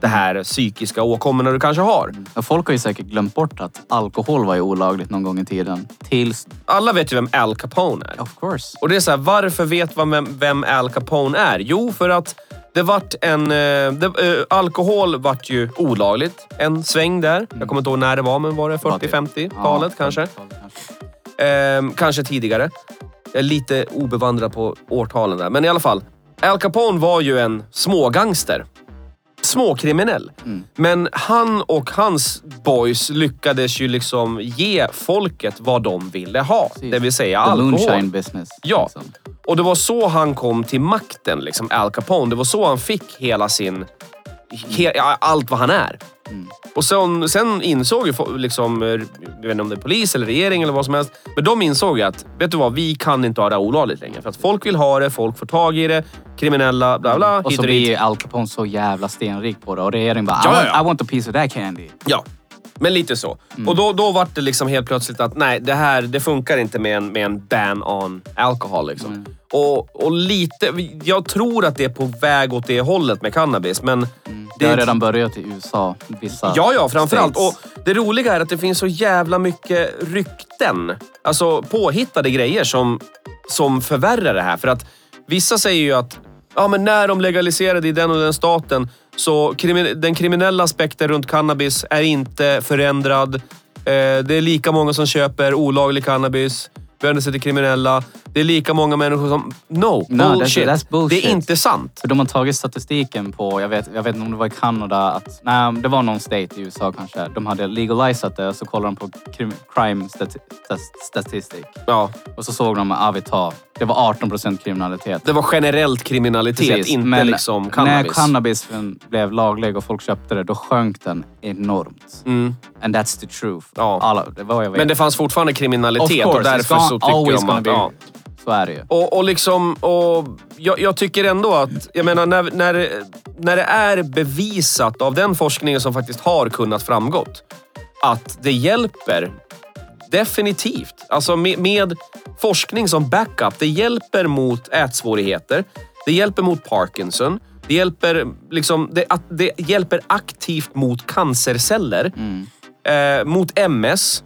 S2: det här psykiska åkommorna du kanske har.
S3: Ja, Folk har ju säkert glömt bort att alkohol var ju olagligt någon gång i tiden. Tills...
S2: Alla vet ju vem Al Capone är.
S3: Of course.
S2: Och det är så här, varför vet man vem, vem Al Capone är? Jo, för att det vart en... Eh, det, eh, alkohol vart ju olagligt en sväng där. Jag kommer inte ihåg när det var, men var det
S3: var det.
S2: 40-50-talet
S3: Ja,
S2: kanske?
S3: 50-talet kanske.
S2: Ehm, kanske tidigare. Jag är lite obevandrad på årtalen där. Men i alla fall. Al Capone var ju en smågangster. Småkriminell.
S3: Mm.
S2: Men han och hans boys lyckades ju liksom ge folket vad de ville ha. Det vill säga
S3: The
S2: alkohol.
S3: moonshine business.
S2: Ja,
S3: liksom.
S2: och det var så han kom till makten, liksom Al Capone. Det var så han fick hela sin... He, ja, allt vad han är.
S3: Mm.
S2: Och sen, sen insåg ju fo- liksom, eh, jag vet inte om det är polis eller regering eller vad som helst, men de insåg ju att, vet du vad, vi kan inte ha det här olagligt längre. För att folk vill ha det, folk får tag i det, kriminella, bla bla,
S3: Och
S2: hit
S3: så
S2: och
S3: blir
S2: dit.
S3: ju Al Capone så jävla stenrik på det och regeringen bara
S2: Ja,
S3: I,
S2: ja,
S3: want,
S2: ja.
S3: I want a piece of that candy.
S2: Ja, men lite så.
S3: Mm.
S2: Och då, då var det liksom helt plötsligt att nej, det här det funkar inte med en, med en ban on alcohol. Liksom.
S3: Mm.
S2: Och, och lite, jag tror att det är på väg åt det hållet med cannabis, men...
S3: Det Mm. har redan börjat i USA. Vissa
S2: Ja, ja, framförallt. Och
S3: states.
S2: det roliga är att det finns så jävla mycket rykten. Alltså påhittade grejer som, som förvärrar det här. För att vissa säger ju att ja, men när de legaliserade i den och den staten så krimi- den kriminella aspekten runt cannabis är inte förändrad. Eh, det är lika många som köper olaglig cannabis, vänder sig till kriminella. Det är lika många människor som... No,
S3: No, that's-
S2: bullshit.
S3: that's bullshit.
S2: Det är inte sant.
S3: För de har tagit statistiken på, jag vet, jag vet inte om det var i Kanada, att, nej, det var någon state i USA kanske. De hade legalisat det och så kollade de på krim, crime stati- stas- statistik.
S2: Ja,
S3: Och så såg de att ah, vi tar, det var 18 procent kriminalitet.
S2: det var generellt kriminalitet,
S3: Precis,
S2: inte
S3: men
S2: liksom
S3: när
S2: cannabis.
S3: cannabis blev laglig och folk köpte det, då sjönk den enormt.
S2: Mm.
S3: And that's the truth.
S2: Ja.
S3: Alla, det var vad jag vet.
S2: Men det fanns fortfarande
S3: Of
S2: kriminalitet
S3: course,
S2: och därför
S3: it's
S2: så
S3: gonna- always
S2: tycker de
S3: gonna
S2: att...
S3: be-
S2: Ja.
S3: Så är det ju.
S2: Och, och liksom, och jag, jag tycker ändå att, jag menar när, när, när det är bevisat av den forskningen som faktiskt har kunnat framgått, att det hjälper definitivt. Alltså med, med forskning som backup. Det hjälper mot ätsvårigheter. Det hjälper mot Parkinson. Det hjälper, liksom, det, att, det hjälper aktivt mot cancerceller. Eh, mot MS.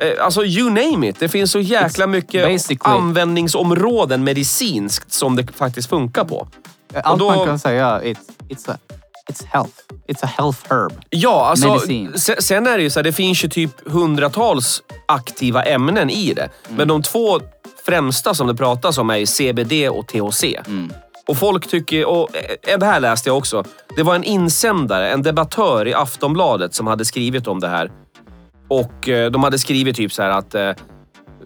S2: Eh, alltså you name it. Det finns så jäkla
S3: It's
S2: mycket
S3: basically-
S2: användningsområden medicinskt som det faktiskt funkar på.
S3: Allt
S2: då-
S3: man kan säga, it's, it's, a, it's health. It's a health herb.
S2: Ja, alltså,
S3: Medicin.
S2: se- sen är det ju så här, det finns ju typ hundratals aktiva ämnen i det. Men de två främsta som det pratas om är ju CBD och THC. Och folk tycker, och eh, det här läste jag också. Det var en insändare, en debattör i Aftonbladet som hade skrivit om det här. Och eh, de hade skrivit typ så här att eh, r-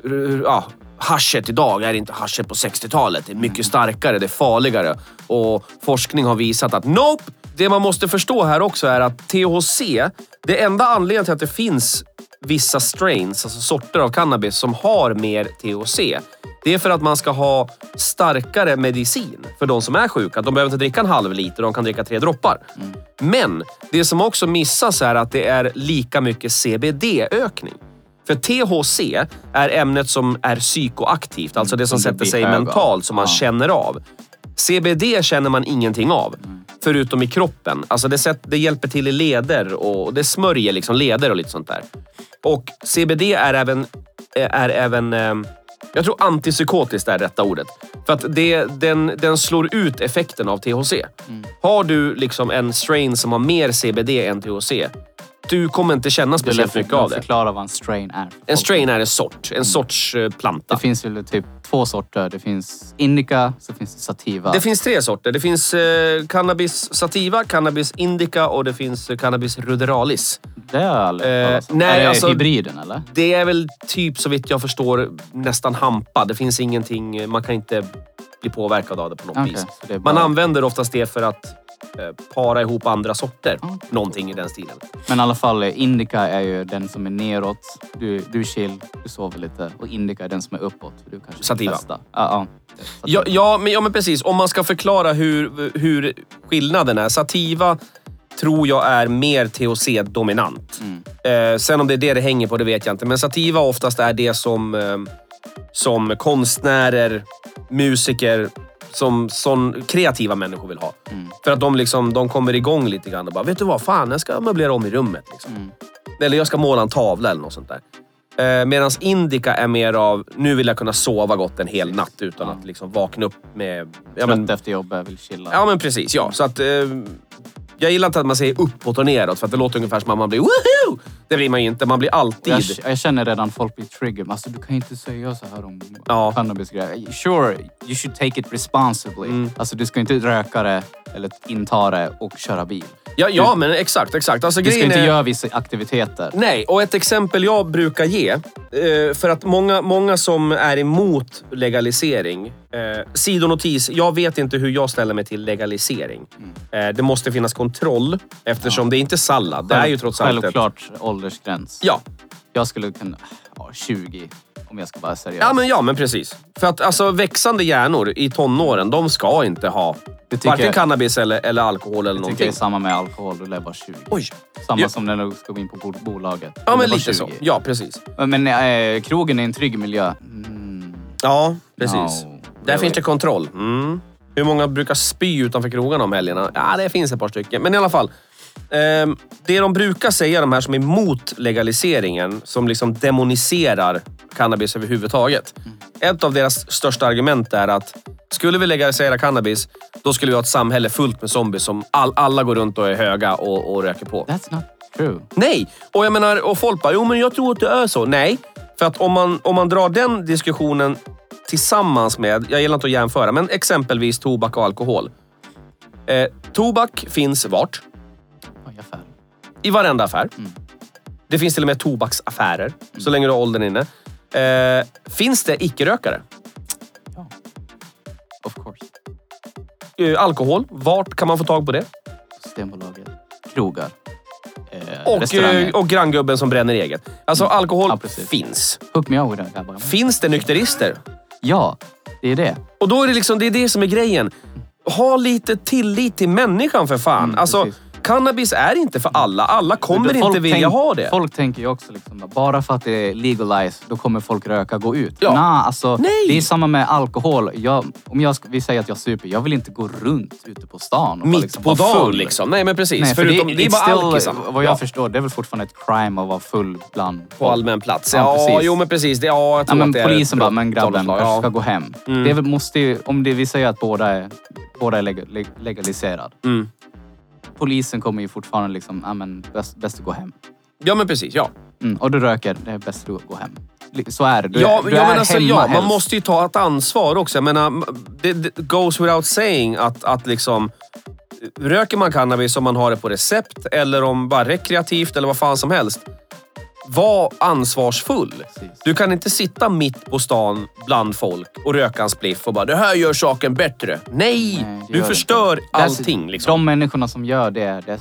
S2: Mm. ja, haschet idag är inte haschet på 60-talet. Det är mycket starkare, det är farligare. Och forskning har visat att nope! Det man måste förstå här också är att THC, det enda anledningen till att det finns vissa strains, alltså sorter av cannabis, som har mer THC. Det är för att man ska ha starkare medicin för de som är sjuka. De behöver inte dricka en halv liter, de kan dricka tre droppar. Men det som också missas är att det är lika mycket CBD-ökning. För THC är ämnet som är psykoaktivt, alltså det som
S3: Som du
S2: sätter
S3: Mm, blir
S2: sig
S3: hög av.
S2: mentalt, som man
S3: Ja.
S2: känner av. CBD känner man ingenting av, förutom i kroppen. Alltså det, sätt, det hjälper till i leder och och det smörjer liksom leder och lite sånt där. Och CBD är även... Är även ehm, jag tror antipsykotiskt är rätta ordet. För att det, den, den slår ut effekten av THC.
S3: Mm.
S2: Har du liksom en strain som har mer CBD än THC, du kommer inte känna
S3: Du
S2: speciellt mycket av det.
S3: förklara vad en strain är.
S2: En strain är en sort, en sorts eh, planta.
S3: Det finns väl typ två sorter. Det finns indica, så finns det sativa.
S2: Det finns tre sorter. Det finns eh, cannabis sativa, cannabis indica och det finns eh, cannabis ruderalis.
S3: det har jag aldrig
S2: Eh,
S3: hört talas om.
S2: nej,
S3: Är det
S2: alltså-
S3: hybriden eller?
S2: Det är väl typ, så vitt jag förstår, nästan hampa. Det finns ingenting, eh, man kan inte bli påverkad av det på något
S3: Okej,
S2: vis.
S3: så det är
S2: Man
S3: bara-
S2: använder oftast det för att eh, para ihop andra sorter.
S3: Okej.
S2: Någonting i den stilen.
S3: Men i alla fall, eh, indica är ju den som är neråt. Du, du är chill, du sover lite. Och indica är den som är uppåt. för Du kanske
S2: Sativa.
S3: Vill testa. Ja, ja.
S2: Ja, ja, men, ja, men precis. Om man ska förklara hur, hur skillnaden är. Sativa tror jag är mer THC-dominant. Eh, sen om det är det det hänger på, det vet jag inte. Men sativa oftast är det som, eh, som konstnärer, musiker, som, som kreativa människor vill ha.
S3: Mm.
S2: För att de, liksom, de kommer igång lite grann och bara, vet du vad, fan jag ska möblera om i rummet. Liksom.
S3: Mm.
S2: Eller jag ska måla en tavla eller något sånt där. Eh, Medan indica är mer av, nu vill jag kunna sova gott en hel natt utan att liksom vakna upp med... Ja,
S3: Trött
S2: men,
S3: efter jobbet, vill chilla.
S2: ja men precis, ja. Så att, eh, jag gillar inte att man säger uppåt och neråt för att det låter ungefär som att man blir woho! Det blir man ju inte, man blir alltid...
S3: jag, jag känner redan folk blir triggered. Men Alltså, du kan ju inte säga så här om
S2: Ja.
S3: cannabisgrejer. Sure, you should take it responsibly.
S2: Mm.
S3: Alltså, du ska inte röka det eller inta det och köra bil.
S2: Ja, ja men exakt, exakt. Alltså,
S3: Du ska
S2: grejen
S3: inte
S2: är...
S3: göra vissa aktiviteter.
S2: Nej, och ett exempel jag brukar ge, eh, för att många, många som är emot legalisering, eh, sidonotis, jag vet inte hur jag ställer mig till legalisering.
S3: Mm.
S2: Eh, Det måste finnas kontroll eftersom det är inte sallad. Det är ju trots allt ett...
S3: Självklart åldersgräns.
S2: Ja,
S3: Jag skulle kunna... Ja, 20 om jag ska vara seriös.
S2: ja, men, ja, men precis. För att alltså, växande hjärnor i tonåren, de ska inte ha
S3: Det tycker
S2: varken
S3: jag-
S2: cannabis eller, eller alkohol eller
S3: tycker det
S2: någonting.
S3: är samma med alkohol. Du lär bara 20.
S2: Oj.
S3: Samma
S2: Ja.
S3: som när du ska gå in på bol- bolaget.
S2: Ja,
S3: Du
S2: men
S3: lär bara
S2: lite så.
S3: 20.
S2: Ja, precis.
S3: Men eh, krogen är en trygg miljö. Mm.
S2: Ja, precis.
S3: No,
S2: Där
S3: really.
S2: finns det kontroll. Mm. Hur många brukar spy utanför krogarna om helgerna? Ja, det finns ett par stycken. Men i alla fall. ehm, det de brukar säga, de här som är emot legaliseringen, som liksom demoniserar cannabis överhuvudtaget. Ett av deras största argument är att skulle vi legalisera cannabis, då skulle vi ha ett samhälle fullt med zombies som all, alla går runt och är höga och, och röker på.
S3: That's not true.
S2: Nej! Och jag menar, och folk bara, jo men jag tror att det är så. Nej, för att om man, om man drar den diskussionen tillsammans med, jag gillar inte att jämföra, men exempelvis tobak och alkohol. Eh, tobak finns vart?
S3: Ungefär.
S2: I varenda affär.
S3: Mm.
S2: Det finns till och med tobaksaffärer, så länge du har åldern inne. Eh, finns det icke-rökare?
S3: Ja. Of course.
S2: Eh, alkohol, vart kan man få tag på det?
S3: Systembolaget. Krogar. Eh,
S2: Och,
S3: restauranger.
S2: eh, och granngubben som bränner eget. Alltså alkohol
S3: Ja, precis.
S2: finns.
S3: Hook me up with that grabbar.
S2: Finns det nykterister?
S3: Ja, det är det.
S2: Och då är det liksom, det är det som är grejen. Ha lite tillit till människan för fan. alltså,
S3: Mm, precis.
S2: cannabis är inte för alla. Alla kommer
S3: Folk
S2: inte vilja
S3: tänk-
S2: ha det.
S3: Folk tänker ju också liksom, bara för att det är legalized, då kommer folk röka, gå ut.
S2: Ja.
S3: Nah, alltså,
S2: Nej.
S3: Det är samma med alkohol. Jag, om jag, sk- vi säger att jag super, jag vill inte gå runt ute på stan. Och bara
S2: Mitt
S3: liksom
S2: på
S3: vara
S2: dagen
S3: full.
S2: liksom. Nej men precis.
S3: Nej, för
S2: Förutom,
S3: det,
S2: det, är bara
S3: it's still,
S2: alkisarna.
S3: Vad jag
S2: Ja,
S3: förstår, det är väl fortfarande ett crime att vara full bland
S2: På allmän plats.
S3: Ja,
S2: Ja,
S3: precis.
S2: jo men precis. Det, ja, jag
S3: Ja,
S2: tror
S3: men
S2: att det
S3: polisen
S2: är
S3: bara,
S2: ett
S3: men grabben,
S2: brottsavslag.
S3: kanske
S2: Ja. Mm.
S3: ska gå hem. Det är väl, måste ju, om det, vi säger att båda är, båda är leg, leg, legaliserad.
S2: Mm.
S3: Polisen kommer ju fortfarande liksom, ja men bäst, bäst att gå hem.
S2: ja men precis. Ja.
S3: Mm, och du röker, det är bäst att gå hem. Li- Så är det. Du,
S2: ja,
S3: är- du
S2: ja,
S3: är
S2: men alltså,
S3: hemma
S2: ja, man
S3: helst.
S2: måste ju ta ett ansvar också. Jag menar, det, det goes without saying att, att liksom... Röker man cannabis om man har det på recept eller om bara rekreativt eller vad fan som helst. Var ansvarsfull.
S3: Precis.
S2: Du kan inte sitta mitt på stan bland folk och röka en spliff och bara “det här gör saken bättre”. Nej!
S3: Nej, det
S2: du
S3: gör
S2: förstör
S3: inte. That's-
S2: allting. Liksom.
S3: De människorna som gör det, det är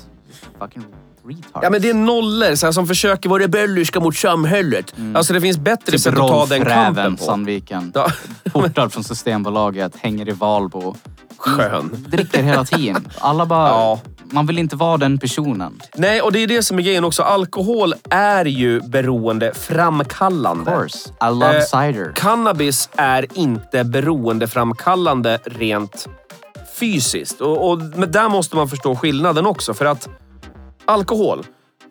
S3: fucking retards.
S2: Ja, men det är nollor så här, som försöker vara rebelliska mot samhället. Alltså det finns bättre
S3: Typ
S2: sätt att ta
S3: Rolf
S2: den
S3: Räven,
S2: kampen på.
S3: Sandviken.
S2: Ja,
S3: Portad från Systembolaget, hänger i Valbo.
S2: skön.
S3: Dricker hela tiden. Alla bara...
S2: Ja.
S3: Man vill inte vara den personen.
S2: Nej, och det är det som är grejen också. Alkohol är ju beroendeframkallande.
S3: Of course. I love
S2: Eh,
S3: cider.
S2: Cannabis är inte beroendeframkallande rent fysiskt. Och, och, men där måste man förstå skillnaden också. För att alkohol,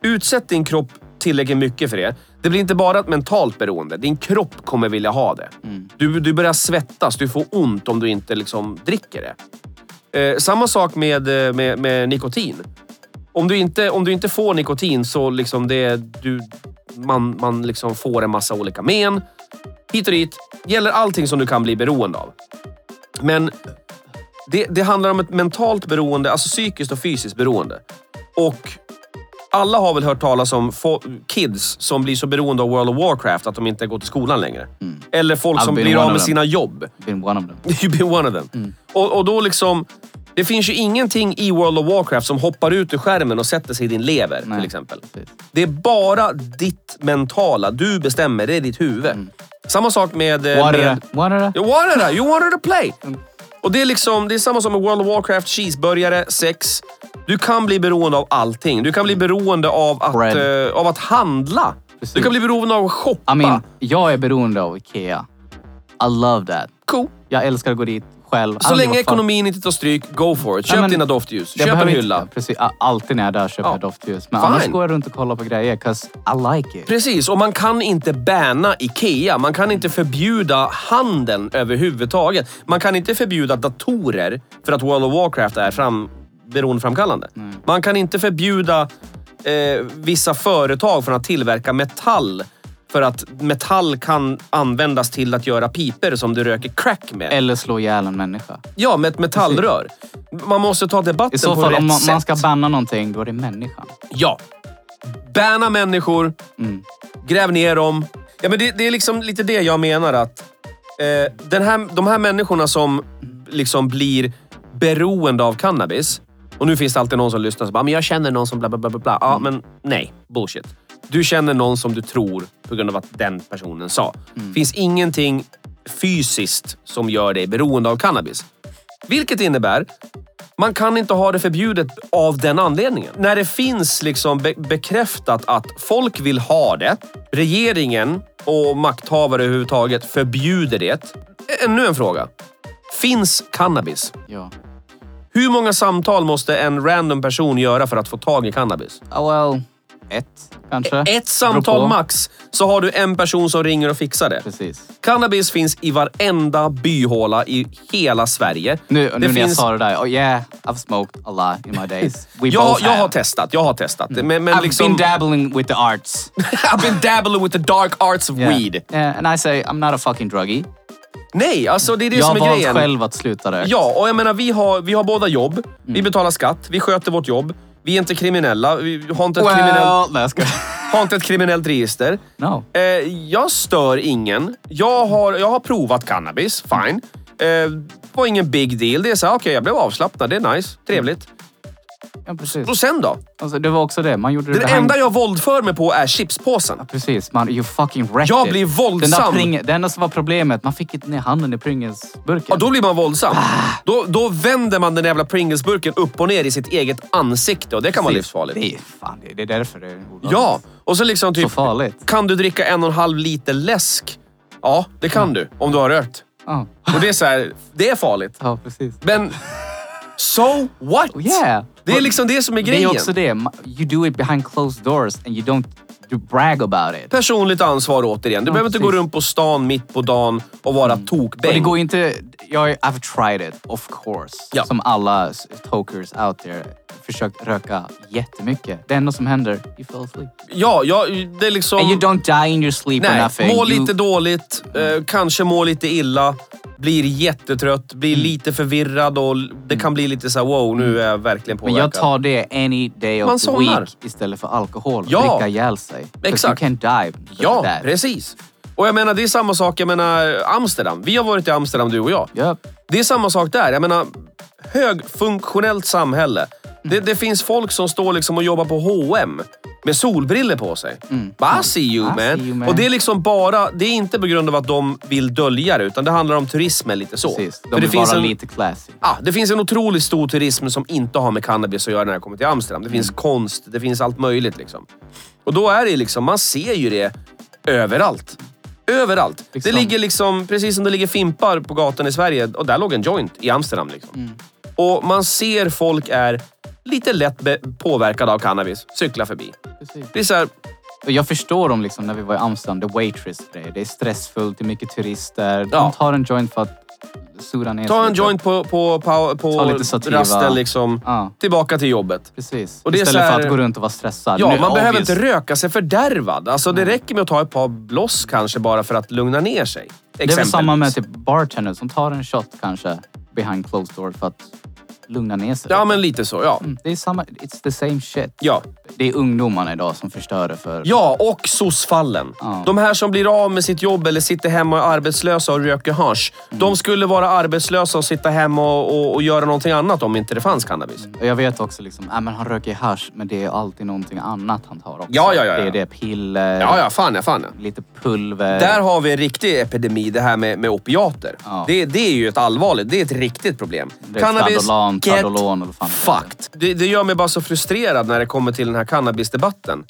S2: utsätt din kropp tillräckligt mycket för det. Det blir inte bara ett mentalt beroende. Din kropp kommer vilja ha det. Du, du börjar svettas, du får ont om du inte liksom dricker det. Eh, samma sak med, eh, med, med nikotin. Om du, inte, om du inte får nikotin så liksom det, du, man, man liksom får en massa olika men. Hit och dit. Gäller allting som du kan bli beroende av. Men det, det handlar om ett mentalt beroende, alltså psykiskt och fysiskt beroende. Och alla har väl hört talas om fo- kids som blir så beroende av World of Warcraft att de inte går till skolan längre. Eller folk
S3: I've
S2: som
S3: been
S2: blir
S3: Mm. one
S2: av
S3: of
S2: med
S3: them.
S2: sina
S3: Mm.
S2: jobb.
S3: Been one of them.
S2: You've been one of them. Och, och då liksom... Det finns ju ingenting i World of Warcraft som hoppar ut ur skärmen och sätter sig i din lever
S3: Nej.
S2: till exempel.
S3: Precis.
S2: Det är bara ditt mentala. Du bestämmer. Det är ditt huvud.
S3: Mm.
S2: Samma sak med... eh,
S3: Water.
S2: med
S3: Water.
S2: you wanted to, you wanted to play.
S3: Mm.
S2: Och det är, liksom, det är samma som med World of Warcraft, cheeseburgare, sex. Du kan bli beroende av allting. Du kan bli beroende av att,
S3: Bread.
S2: eh, av att handla.
S3: Precis.
S2: Du kan bli beroende av att shoppa.
S3: I mean, jag är beroende av Ikea. I love that.
S2: cool.
S3: Jag älskar att gå dit själv.
S2: Så
S3: Aldrig
S2: länge
S3: varit fan-
S2: ekonomin inte tar stryk, go for it. Köp
S3: Ja, men-
S2: dina doftljus.
S3: Jag
S2: Köp en
S3: behöver
S2: hylla.
S3: Inte, precis, a- alltid när jag är där köper
S2: Ja.
S3: jag doftljus. Men
S2: Fine.
S3: annars går jag runt och kollar på grejer, 'cause I like it.
S2: Precis, och man kan inte banna IKEA. Man kan inte förbjuda handeln överhuvudtaget. Man kan inte förbjuda datorer för att World of Warcraft är fram, beroendeframkallande.
S3: Mm.
S2: Man kan inte förbjuda eh, vissa företag från att tillverka metall för att metall kan användas till att göra piper som du röker crack med.
S3: Eller slå ihjäl en människa.
S2: ja, med ett metallrör. Man måste ta debatten
S3: I så
S2: på
S3: fall,
S2: rätt
S3: om man,
S2: sätt.
S3: man ska banna någonting, då är det människan.
S2: Ja. Banna människor. Gräv ner dem. Ja, men det, det är liksom lite det jag menar att eh, den här, de här människorna som liksom blir beroende av cannabis. Och nu finns det alltid någon som lyssnar och bara, men jag känner någon som bla bla bla. bla, bla. Ja, men nej. Bullshit. Du känner någon som du tror på grund av att den personen sa. finns ingenting fysiskt som gör dig beroende av cannabis. Vilket innebär man kan inte ha det förbjudet av den anledningen. När det finns liksom be- bekräftat att folk vill ha det, regeringen och makthavare överhuvudtaget förbjuder det. Ännu en fråga. Finns cannabis?
S3: Ja.
S2: Hur många samtal måste en random person göra för att få tag i cannabis?
S3: Oh well. Ett, kanske?
S2: Ett
S3: Beror
S2: samtal
S3: på.
S2: max, så har du en person som ringer och fixar det.
S3: Precis.
S2: Cannabis finns i varenda byhåla i hela Sverige.
S3: Nu,
S2: Det
S3: nu när jag
S2: finns-
S3: sa det där. Oh yeah, I've smoked a lot in my days. We
S2: Jag,
S3: both
S2: jag har
S3: have.
S2: testat, jag har testat. Men, men
S3: I've
S2: liksom...
S3: been dabbling with the arts.
S2: I've been dabbling with the dark arts of weed.
S3: Yeah, and I say I'm not a fucking druggie.
S2: Nej, alltså det är det
S3: jag
S2: som
S3: har
S2: är
S3: valt
S2: grejen.
S3: själv att sluta röka.
S2: Ja, och jag menar vi har, vi har båda jobb.
S3: Mm.
S2: Vi betalar skatt, vi sköter vårt jobb. Vi är inte kriminella, vi har inte ett, kriminell,
S3: Well, nej, jag skojar.
S2: har inte ett kriminellt register.
S3: No.
S2: Eh, jag stör ingen. Jag har, jag har provat cannabis, fine. Eh, det var ingen big deal. Det är så här, okej jag blev avslappnad, det är nice, trevligt.
S3: Ja,
S2: Och
S3: precis.
S2: sen då?
S3: Alltså, det var också det. Man gjorde det
S2: Det
S3: behind-
S2: enda jag våldför mig på är chipspåsen.
S3: Precis, man, you fucking wrecked
S2: Jag
S3: it.
S2: blir
S3: Den
S2: våldsam.
S3: där pringen- Det enda som var problemet, man fick inte ner handen i Pringles-burken.
S2: Ja, då blir man våldsam.
S3: Ah.
S2: Då, då vänder man den jävla Pringlesburken upp och ner i sitt eget ansikte och det kan vara livsfarligt.
S3: Det är, fan, det det är därför det är olagligt.
S2: Ja, och så liksom
S3: Så
S2: typ...
S3: farligt.
S2: Kan du dricka en och en halv liter läsk? Ja, det kan du. Om du har rökt.
S3: Ja,
S2: Och det är så här, det är farligt.
S3: ja precis.
S2: Men... So what?
S3: Oh, yeah.
S2: Det är liksom det som är
S3: Det är
S2: grejen.
S3: också det. ma- You do it behind closed doors and you don't you brag about it.
S2: Personligt ansvar återigen. Du
S3: Ja,
S2: behöver inte gå
S3: precis. Mm.
S2: runt på stan mitt på dagen och vara
S3: Och det
S2: tokbäng.
S3: går ju inte... Jag, I've tried it, of course.
S2: Ja.
S3: Som alla s- tokers out there. Försökt röka jättemycket. Det enda som händer, you fall asleep.
S2: Ja, ja, det är liksom...
S3: And you don't die in your sleep or
S2: Nej,
S3: nothing.
S2: må
S3: You-
S2: lite dåligt, eh, kanske må lite illa, blir jättetrött, blir
S3: Mm.
S2: lite förvirrad och l- det kan bli lite så här: wow, nu är jag verkligen
S3: Men
S2: påverkad.
S3: jag tar det any day of
S2: Man
S3: the
S2: somnar.
S3: week istället för alkohol och
S2: Ja.
S3: dricka ihjäl sig. 'Cause
S2: Exakt.
S3: You can die. because of
S2: Ja,
S3: that.
S2: precis. Och jag menar, det är samma sak, jag menar Amsterdam. Vi har varit i Amsterdam du och jag.
S3: Yep.
S2: Det är samma sak där. Jag menar, högfunktionellt samhälle. Det, det finns folk som står liksom och jobbar på H&M med solbriller på sig. Mm. I, see you,
S3: I
S2: man.
S3: see you, man.
S2: Och det är liksom bara, det är inte på grund av att de vill dölja det, utan det handlar om turismen lite så.
S3: Precis. De
S2: För
S3: vill
S2: det finns
S3: vara
S2: en,
S3: lite classy.
S2: Ah, det finns en otroligt stor turism som inte har med cannabis att göra när jag kommer till Amsterdam. Det
S3: Mm.
S2: finns konst, det finns allt möjligt. Liksom. Och då är det liksom, man ser ju det överallt. Överallt.
S3: Liksom.
S2: Det ligger liksom, precis som det ligger fimpar på gatan i Sverige, och där låg en joint i Amsterdam. Liksom.
S3: Mm.
S2: Och man ser folk är lite lätt be- påverkade av cannabis, cykla förbi.
S3: Precis.
S2: Det är så här,
S3: Och jag förstår dem liksom när vi var i Amsterdam, the waitress grej. Det är stressfullt, det är mycket turister.
S2: Ja.
S3: De tar en joint för att sura ner sig
S2: ta en
S3: lite.
S2: joint på, på, på,
S3: Ta
S2: på
S3: lite sativa.
S2: rasten, liksom,
S3: Ja,
S2: tillbaka till jobbet.
S3: precis.
S2: Och det är
S3: Istället
S2: så här-
S3: för att gå runt och vara stressad.
S2: Ja,
S3: Nu,
S2: man behöver
S3: obvious.
S2: inte röka sig fördärvad. Alltså, det räcker med att ta ett par bloss kanske bara för att lugna ner sig.
S3: Det är väl
S2: Exempelvis.
S3: samma med typ bartender som tar en shot kanske behind closed door för att lugna ner sig.
S2: Ja, men lite så. Ja.
S3: Det är samma, it's the same shit.
S2: Ja.
S3: Det är ungdomarna idag som förstör det för...
S2: ja, och soc-fallen.
S3: Ja.
S2: De här som blir av med sitt jobb eller sitter hemma och är arbetslösa och röker hasch.
S3: Mm.
S2: De skulle vara arbetslösa och sitta hemma och, och, och göra någonting annat om inte det fanns cannabis.
S3: Och jag vet också liksom, äh, men han röker hasch men det är alltid någonting annat han tar också.
S2: Ja, ja, ja, ja.
S3: Det är det, piller,
S2: Ja, ja, fan ja, fan ja.
S3: lite pulver.
S2: Där har vi en riktig epidemi, det här med, med opiater.
S3: Ja.
S2: Det, det är ju ett allvarligt, det är ett riktigt problem.
S3: Det är Tradolan, Tadolon eller vad fan det
S2: fucked. Det, det gör mig bara så frustrerad när det kommer till den här cannabisdebatten.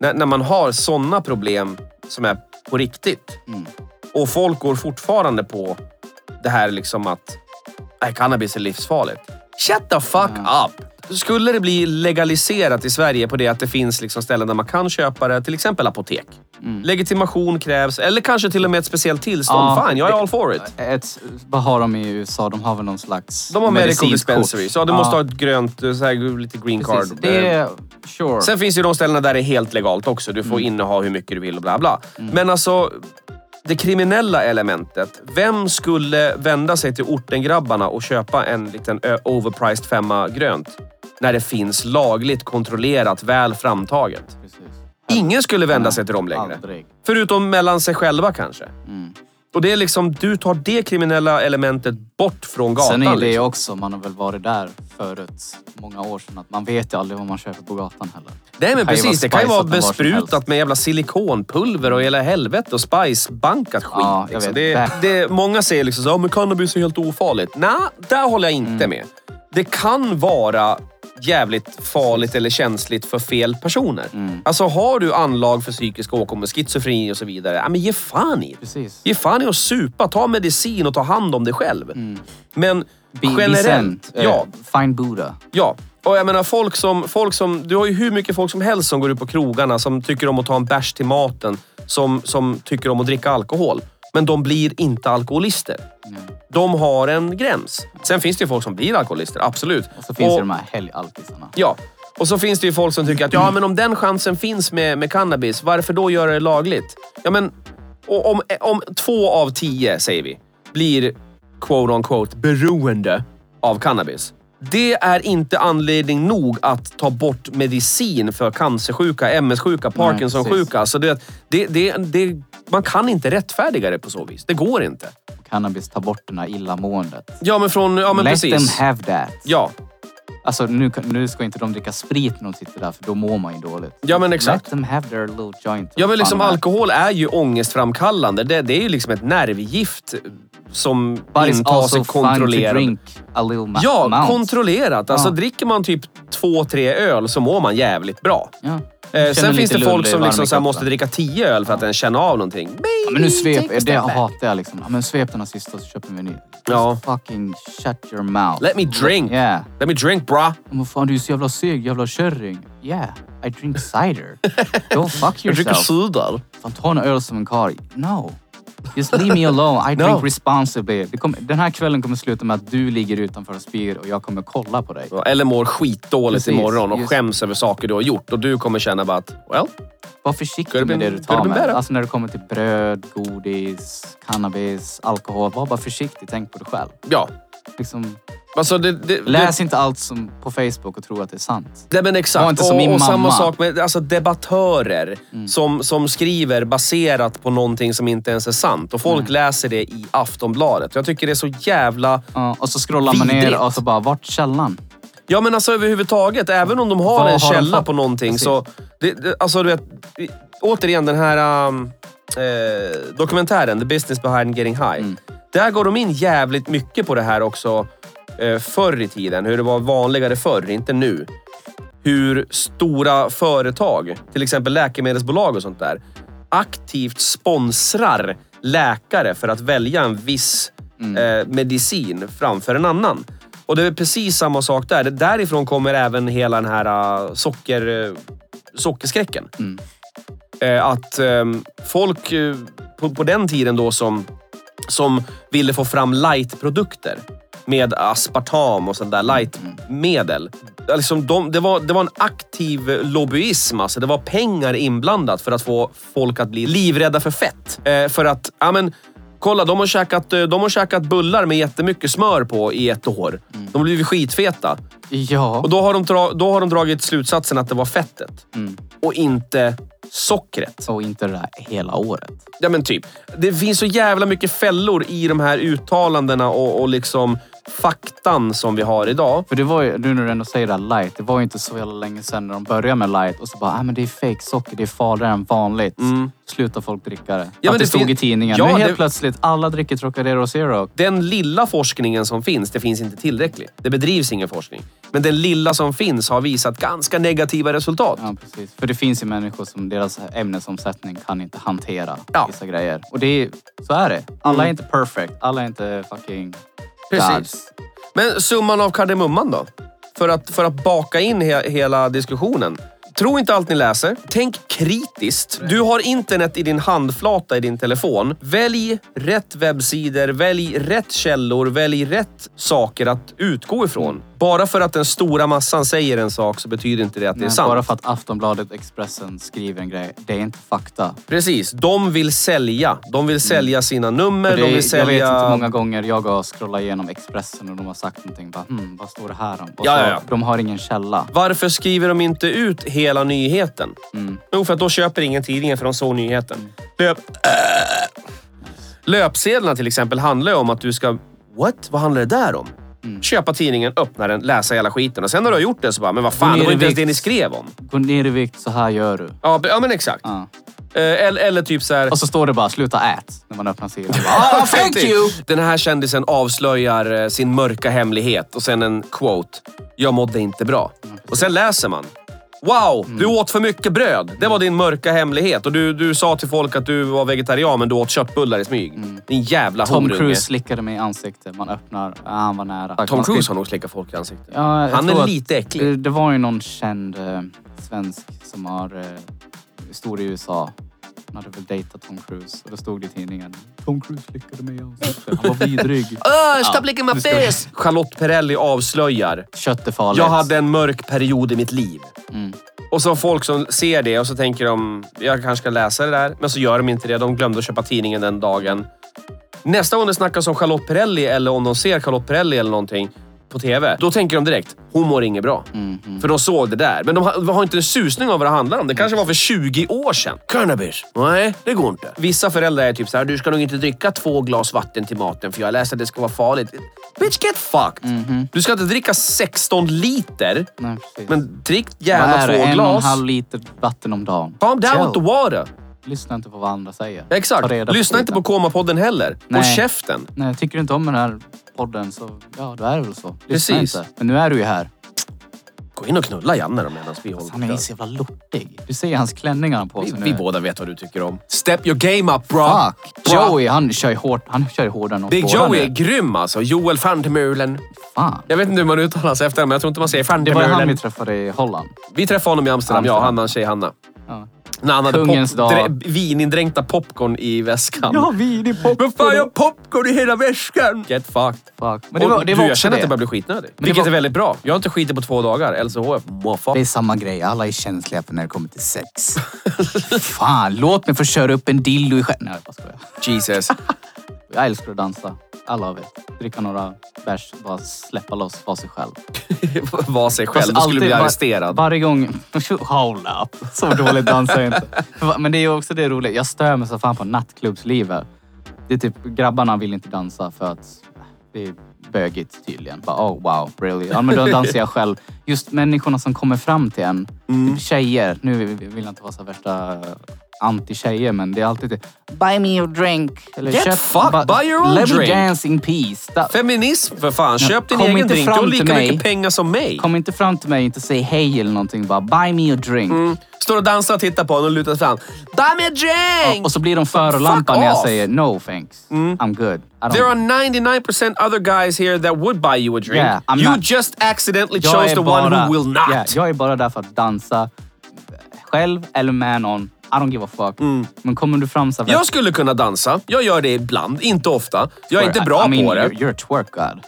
S2: När, när man har sådana problem som är på riktigt.
S3: Mm.
S2: Och folk går fortfarande på det här liksom att nej, cannabis är livsfarligt. Shut the fuck
S3: Mm.
S2: up! Skulle det bli legaliserat i Sverige på det att det finns liksom ställen där man kan köpa det, till exempel apotek. Legitimation krävs, eller kanske till och med ett speciellt tillstånd.
S3: Mm. Ja,
S2: Fine, jag är
S3: det-
S2: all for it.
S3: Ett, vad har de i USA? De har väl någon slags
S2: De har medical
S3: medicinkort.
S2: dispensary, så du måste ha ett grönt, eh, så här, lite green
S3: precis.
S2: card.
S3: Det är... Sure.
S2: Sen finns ju de ställena där det är helt legalt också. Du får
S3: Mm.
S2: inneha hur mycket du vill och bla bla. Men alltså, det kriminella elementet. Vem skulle vända sig till ortengrabbarna och köpa en liten ö- overpriced femma grönt? När det finns lagligt kontrollerat, väl framtaget.
S3: Precis.
S2: Ingen skulle vända sig till dem längre.
S3: Aldrig.
S2: Förutom mellan sig själva kanske.
S3: Mm.
S2: Och det är liksom, du tar det kriminella elementet bort från gatan.
S3: Sen är det
S2: liksom.
S3: också, man har väl varit där förut, många år sedan, att man vet ju aldrig vad man köper på gatan heller.
S2: Nej men
S3: kan ju
S2: precis, det
S3: vara
S2: kan ju vara
S3: spicat var som
S2: besprutat
S3: helst.
S2: med jävla silikonpulver och hela helvete och spicebankat skit.
S3: Ja, jag
S2: liksom.
S3: vet.
S2: det, det, många säger liksom så här, "Ja, men cannabis är helt ofarligt. Nej, där håller jag
S3: Mm.
S2: inte med. Det kan vara jävligt farligt eller känsligt för fel personer.
S3: Mm.
S2: Alltså har du anlag för psykisk åkomma, schizofreni och så vidare, ja, men ge fan i det.
S3: Precis.
S2: Ge fan i att supa, ta medicin och ta hand om dig själv. Men
S3: Mm. Be- be
S2: generellt,
S3: sent. Eh,
S2: ja,
S3: Find Buddha.
S2: Ja, och jag menar folk som, folk som... Du har ju hur mycket folk som helst som går ut på krogarna, som tycker om att ta en bärs till maten, som, som tycker om att dricka alkohol. Men de blir inte alkoholister.
S3: Mm.
S2: De har en gräns. Sen finns det ju folk som blir alkoholister, absolut.
S3: Och så finns
S2: Och-
S3: det de här helgalkisarna.
S2: Ja. Och så finns det ju folk som tycker att ja, men om den chansen finns med, med cannabis, varför då göra det lagligt? Ja, men och om, om två av tio, säger vi, blir quote on quote beroende av cannabis. Det är inte anledning nog att ta bort medicin för cancersjuka, MS-sjuka, Parkinson-sjuka. Alltså det, det, det, det, man kan inte rättfärdiga det på så vis. Det går inte.
S3: Och Cannabis tar bort det här illamåendet.
S2: Ja, men från... Ja, men
S3: Let them
S2: precis.
S3: have that.
S2: Ja,
S3: Alltså nu, kan- nu ska inte de dricka sprit när de sitter där för då mår man ju dåligt.
S2: ja, men exakt.
S3: Let them have their little joint.
S2: Ja, men liksom
S3: Fan,
S2: alkohol är ju ångestframkallande. Det, det är ju liksom ett nervgift som
S3: But it's
S2: intas
S3: also
S2: i
S3: fun to
S2: kontrollerat.
S3: drink a little ma-
S2: Ja,
S3: amount.
S2: kontrollerat. Alltså
S3: Ja.
S2: dricker man typ två, tre öl så mår man jävligt bra.
S3: Ja.
S2: Eh,
S3: Känner
S2: sen
S3: lite
S2: finns det
S3: lull
S2: folk
S3: i
S2: som
S3: varm
S2: liksom
S3: i
S2: så här
S3: kroppen.
S2: måste dricka tio öl för att ens känna av någonting.
S3: Ja,
S2: Baby,
S3: men nu
S2: take a
S3: svep, det
S2: step back.
S3: hatar jag liksom. Ja, men svep den här sista så köper vi en ny. Just
S2: Ja.
S3: Fucking shut your mouth.
S2: Let me drink.
S3: Yeah.
S2: Let me drink bra.
S3: Men vad fan, du är så jävla seg, jävla kärring. Yeah, I drink cider. Don't fuck
S2: Jag dricker
S3: yourself.
S2: cider.
S3: Fan, ta en öl som en karl. No. Just leave me alone. I
S2: No.
S3: drink responsibly. Det kommer- den här kvällen kommer sluta med att du ligger utanför och spyr och jag kommer kolla på dig.
S2: Ja, Eller mår skitdåligt
S3: Precis,
S2: imorgon och
S3: just-
S2: skäms över saker du har gjort och du kommer känna bara att, well,
S3: Var
S2: Could've
S3: försiktig
S2: been-
S3: med det du
S2: could've
S3: tar
S2: been
S3: med.
S2: better.
S3: Alltså när det kommer till bröd, godis, cannabis, alkohol. Var bara försiktig. Tänk på dig själv.
S2: ja.
S3: Liksom,
S2: Alltså det, det,
S3: läs inte allt som på Facebook och tro att det är sant.
S2: Nej men exakt.
S3: Var inte som
S2: och,
S3: min
S2: och samma
S3: mamma. Mm.
S2: sak med alltså, debattörer som, som skriver baserat på någonting som inte ens är sant. Och folk
S3: Mm.
S2: läser det i Aftonbladet. Jag tycker det är så jävla...
S3: Ja, och så scrollar man
S2: Vidrigt.
S3: ner och så bara, vart källan?
S2: Ja men alltså överhuvudtaget, även om de har
S3: Vad
S2: en
S3: har de
S2: källa
S3: fått?
S2: på någonting så... Det, det, alltså du vet, i- återigen den här um, eh, dokumentären, The Business Behind Getting High. Där går de in jävligt mycket på det här också eh, förr i tiden. Hur det var vanligare förr, inte nu. Hur stora företag, till exempel läkemedelsbolag och sånt där, aktivt sponsrar läkare för att välja en viss eh, medicin framför en annan. Och det är precis samma sak där. Det- Därifrån kommer även hela den här eh, socker, eh, sockerskräcken.
S3: Mm.
S2: Eh, att eh, folk eh, på, på den tiden då som, som ville få fram light-produkter med aspartam och sånt där light-medel. Liksom de, det, var, det var en aktiv lobbyism. Alltså. Det var pengar inblandat för att få folk att bli livrädda för fett. Eh, för att, ja men, kolla de har, käkat, eh, de har käkat bullar med jättemycket smör på i ett år. De har blivit skitfeta.
S3: Ja.
S2: Och då har, de dra, då har de dragit slutsatsen att det var fettet
S3: Mm.
S2: och inte sockret.
S3: Så inte det där hela året.
S2: Ja men typ. Det finns så jävla mycket fällor i de här uttalandena och, och liksom faktan som vi har idag.
S3: För det var ju, nu när du ändå säger det här light, det var ju inte så jävla länge sedan när de började med light och så bara, ah, men det är fake socker, det är farligare än vanligt. Slutar folk dricka det?
S2: Mm. men
S3: Att det
S2: det
S3: stod
S2: fin-
S3: i tidningen.
S2: Ja,
S3: nu helt
S2: det-
S3: plötsligt, alla dricker Trocadero Zero.
S2: Den lilla forskningen som finns, det finns inte tillräckligt. Det bedrivs ingen forskning. Men den lilla som finns har visat ganska negativa resultat.
S3: Ja, precis. För det finns ju människor som deras ämnesomsättning kan inte hantera
S2: Ja. Mm.
S3: vissa grejer. Och det är, så är det. Alla är inte perfect. Alla är inte fucking
S2: Precis.
S3: gods.
S2: Men summan av kardemumman då? För att, för att baka in he, hela diskussionen. Tro inte allt ni läser. Tänk kritiskt. Du har internet i din handflata i din telefon. Välj rätt webbsidor, välj rätt källor, välj rätt saker att utgå ifrån. Bara för att den stora massan säger en sak så betyder inte det att det är
S3: Nej,
S2: sant.
S3: Bara för att Aftonbladet Expressen skriver en grej, det är inte fakta.
S2: Precis. De vill sälja. De vill sälja sina nummer,
S3: Mm. För
S2: de
S3: det,
S2: vill
S3: Jag
S2: sälja...
S3: vet inte hur många gånger jag har scrollat igenom Expressen och de har sagt någonting. Bara, hmm, vad står det här om? Och
S2: Ja,
S3: så,
S2: ja, ja.
S3: De har ingen källa.
S2: Varför skriver de inte ut hela nyheten?
S3: Mm.
S2: Jo, för att då köper ingen tidningen för de såg nyheten. Löp... Löpsedlarna till exempel handlar ju om att du ska... What? Vad handlar det där om?
S3: Mm.
S2: Köpa tidningen, öppna den, läsa hela skiten. Och sen när du har gjort det så bara, men vad fan,
S3: ner
S2: det var
S3: i
S2: inte ens
S3: vikt.
S2: det ni skrev om.
S3: Gå ner i vikt, så här gör du.
S2: Ja, be- ja men exakt.
S3: Ja.
S2: Eh, Eller, eller typ så här...
S3: Och så står det bara sluta ät när man öppnar sidan. typ.
S2: Ah, thank you! Den här kändisen avslöjar eh, sin mörka hemlighet och sen en quote. Jag mådde inte bra. Och sen läser man. Wow,
S3: Mm.
S2: du åt för mycket bröd. Det var din mörka hemlighet. Och du, du sa till folk att du var vegetarian men du åt köttbullar i smyg. Din jävla
S3: Mm. Tom
S2: horunge.
S3: Cruise slickade mig i ansiktet. Man öppnar, ah, han var nära.
S2: Tom
S3: Man ska-
S2: Cruise har nog slickat folk i ansiktet.
S3: Ja, jag
S2: Han är
S3: tror att
S2: lite äcklig.
S3: Det, det var ju någon känd eh, svensk som har eh, stor i USA. Han hade väl dejtat Tom Cruise och då stod det i tidningen. Tom Cruise slickade mig i ansiktet. Han var vidrig.
S2: Oh,
S3: stop licking my face!
S2: Charlotte Perrelli avslöjar.
S3: Kött är farligt.
S2: Jag hade en mörk period i mitt liv.
S3: Mm.
S2: Och så har folk som ser det och så tänker de, jag kanske ska läsa det där. Men så gör de inte det. De glömde att köpa tidningen den dagen. Nästa gång det snackas om Charlotte Perrelli eller om de ser Charlotte Perrelli eller någonting på TV. Då tänker de direkt, hon mår inget bra. För de såg det där. Men de har, har inte en susning om vad det handlar om. Det kanske var för 20 år sedan. Cannabis? Nej, det går inte. Vissa föräldrar är typ så här, du ska nog inte dricka två glas vatten till maten för jag läste att det ska vara farligt. Bitch get fucked! Du ska inte dricka 16 liter,
S3: Nej, precis.
S2: men drick
S3: Vad
S2: gärna
S3: är det?
S2: två
S3: En och en
S2: glas.
S3: halv liter vatten om dagen.
S2: Calm down with the
S3: Chill.
S2: water.
S3: Lyssna inte på vad andra säger. Ta
S2: Exakt.
S3: reda
S2: Lyssna inte på
S3: skiten.
S2: Komapodden heller. Håll
S3: Nej.
S2: käften.
S3: Nej, tycker du inte om den här podden så ja, då är det väl så. Lyssna
S2: Precis.
S3: inte. Men nu är du ju här.
S2: Gå in och knulla Janne då medan vi håller
S3: Han är ju så jävla lortig. Du ser hans klänningar han har på sig Alltså, nu.
S2: Vi, vi båda vet vad du tycker om. Step your game up bro!
S3: Fuck!
S2: Bra.
S3: Joey, han kör ju hårt. Han kör ju hårdare än oss
S2: Big
S3: båda
S2: Joey är
S3: nu.
S2: grym alltså. Joel Fandemulen.
S3: Fan.
S2: Jag vet inte hur man uttalar sig efter men jag tror inte man säger
S3: Det var ju han
S2: Fandemulen.
S3: vi träffade i Holland.
S2: Vi träffade honom i Amsterdam,
S3: Amsterdam.
S2: jag, han och en tjej, Hanna.
S3: Ja.
S2: När han hade
S3: Kungens
S2: pop,
S3: dag.
S2: drä, vinindränkta popcorn i väskan.
S3: vi det
S2: Vad fan, jag har popcorn i hela väskan! Get fucked.
S3: Fuck. Men det var,
S2: Och
S3: det var
S2: du, jag
S3: också
S2: känner att
S3: det.
S2: jag börjar bli skitnödig.
S3: det
S2: Vilket
S3: var-
S2: är väldigt bra. Jag har inte skitit på två dagar. LCHF. Moffa.
S3: Det är samma grej. Alla är känsliga för när det kommer till sex. Fan, låt mig få köra upp en dildo i stjärten. Nej, jag bara skojar.
S2: Jesus.
S3: Jag älskar att dansa. Alla av er. Dricka några bärs, bara släppa loss, vara sig själv.
S2: Var sig själv. Du skulle
S3: alltid
S2: bli
S3: var-
S2: arresterad.
S3: Varje gång... Hold up! Så dåligt dansar jag inte. Men det är ju också det roliga. Jag stör mig så fan på nattklubbslivet. Det är typ, grabbarna vill inte dansa för att det är bögigt tydligen. Bara, oh wow, really. Ja, men då dansar jag själv. Just människorna som kommer fram till en.
S2: Mm.
S3: Typ tjejer. Nu vill jag inte vara så värsta anti-tjejer, men det är alltid det. Buy me your drink. Eller
S2: Get fucked, buy your own
S3: Let
S2: drink."
S3: me dance in peace. Da-
S2: Feminism för fan. Köp din
S3: kom
S2: egen
S3: inte
S2: drink. Du har
S3: fram till
S2: lika
S3: mig.
S2: mycket pengar som mig.
S3: Kom inte fram till mig, inte säg hej eller någonting. Bara buy me a drink.
S2: Mm. Står och dansar och tittar på honom och lutar fram. Buy me a drink!
S3: Och så blir de förolämpade när jag
S2: off.
S3: säger no thanks. I'm good. I don't-
S2: Mm. There are 99% other guys here that would buy you a drink.
S3: Yeah, I'm
S2: you
S3: not-
S2: just accidentally
S3: Jag
S2: chose
S3: är
S2: the one
S3: bara-
S2: who will not.
S3: Yeah, jag är bara där för att dansa själv eller med någon. I don't give a fuck. Men kommer du fram så här...
S2: Mm. Jag skulle kunna dansa. Jag gör det ibland, inte ofta. Jag är inte bra
S3: I mean,
S2: på det.
S3: You're, you're a twerk god.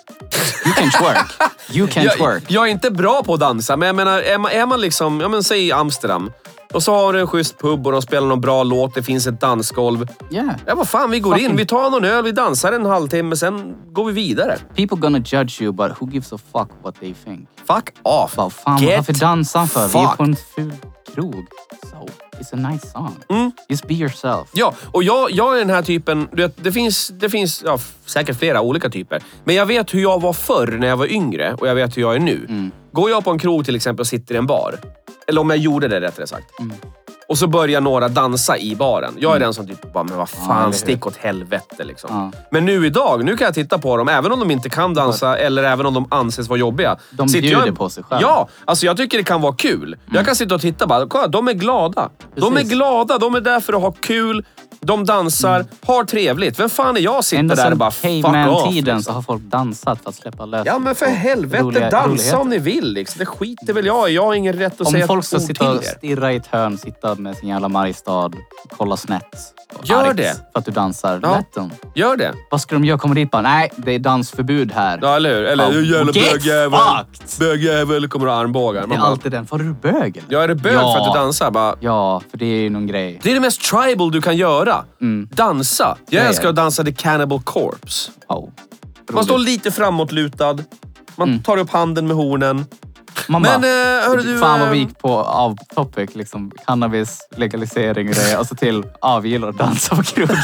S3: You can twerk. You can
S2: Jag,
S3: twerk.
S2: jag är inte bra på att dansa, men jag menar, är man, är man liksom, ja men säg Amsterdam. Och så har du en schysst pub och de spelar någon bra låt, det finns ett dansgolv.
S3: Yeah.
S2: Ja, vad fan, vi går in, vi tar någon öl, vi dansar en halvtimme, sen går vi vidare.
S3: People gonna judge you, but who gives a fuck what they think?
S2: Fuck off!
S3: Bara, fan,
S2: Get
S3: varför dansar han för? Vi är på
S2: fucked.
S3: en ful krog. So, it's a nice song.
S2: Mm.
S3: Just be yourself.
S2: Ja, och jag, jag är den här typen, du vet, det finns, det finns ja, f- säkert flera olika typer. Men jag vet hur jag var förr när jag var yngre och jag vet hur jag är nu.
S3: Mm.
S2: Går jag på en krog till exempel och sitter i en bar, eller om jag gjorde det rättare sagt,
S3: Mm.
S2: och så börjar några dansa i baren. Jag är den som typ bara, men vad fan,
S3: eller hur?
S2: stick åt helvete liksom.
S3: Ja.
S2: Men nu idag, nu kan jag titta på dem, även om de inte kan dansa eller även om de anses vara jobbiga.
S3: De
S2: Sitter
S3: bjuder
S2: jag-
S3: på sig själv.
S2: Ja, alltså jag tycker det kan vara kul. Jag kan sitta och titta bara, kolla, de är glada. De är
S3: Precis. Mm.
S2: glada, de är där för att ha kul. De dansar, har trevligt. Vem fan är jag sitter
S3: Ända
S2: där och
S3: sedan
S2: bara fuck off?
S3: caveman-tiden så
S2: Liksom.
S3: har folk dansat för att släppa lös.
S2: Ja men för
S3: på
S2: helvete,
S3: roliga-
S2: dansa
S3: roligheter.
S2: om ni vill. Liksom. Det skiter väl jag i. Jag har ingen rätt att
S3: Om
S2: säga
S3: folk ska
S2: ett ord
S3: sitta och
S2: till er.
S3: stirra i ett hörn, sitta med sin jävla Mariestad, kolla snett. och
S2: Gör
S3: argt
S2: det.
S3: För att du dansar.
S2: Ja.
S3: Let them.
S2: Gör det.
S3: Vad ska de göra? Kommer dit bara, nej, det är dansförbud här.
S2: Ja, eller hur? Eller
S3: Ja,
S2: du jävla
S3: get
S2: bögjävel.
S3: fucked.
S2: Bögjävel kommer att ha armbågar.
S3: Det är
S2: Man bara,
S3: alltid den. Var är du bög eller?
S2: jag är det bög för att du dansar? Bara,
S3: Ja, för det är ju någon grej.
S2: det är det mest tribal du kan göra. Dansa.
S3: är
S2: Jag
S3: Mm. det.
S2: älskar att dansa The Cannibal Corpse.
S3: Oh.
S2: Man står lite framåtlutad. Man tar upp handen med hornen.
S3: Man
S2: Men,
S3: bara,
S2: eh, hörru du,
S3: fan vad vi
S2: eh,
S3: gick på av topic. Liksom, cannabis, legalisering och det. Och så till, ja, vi gillar att dansa på krogen.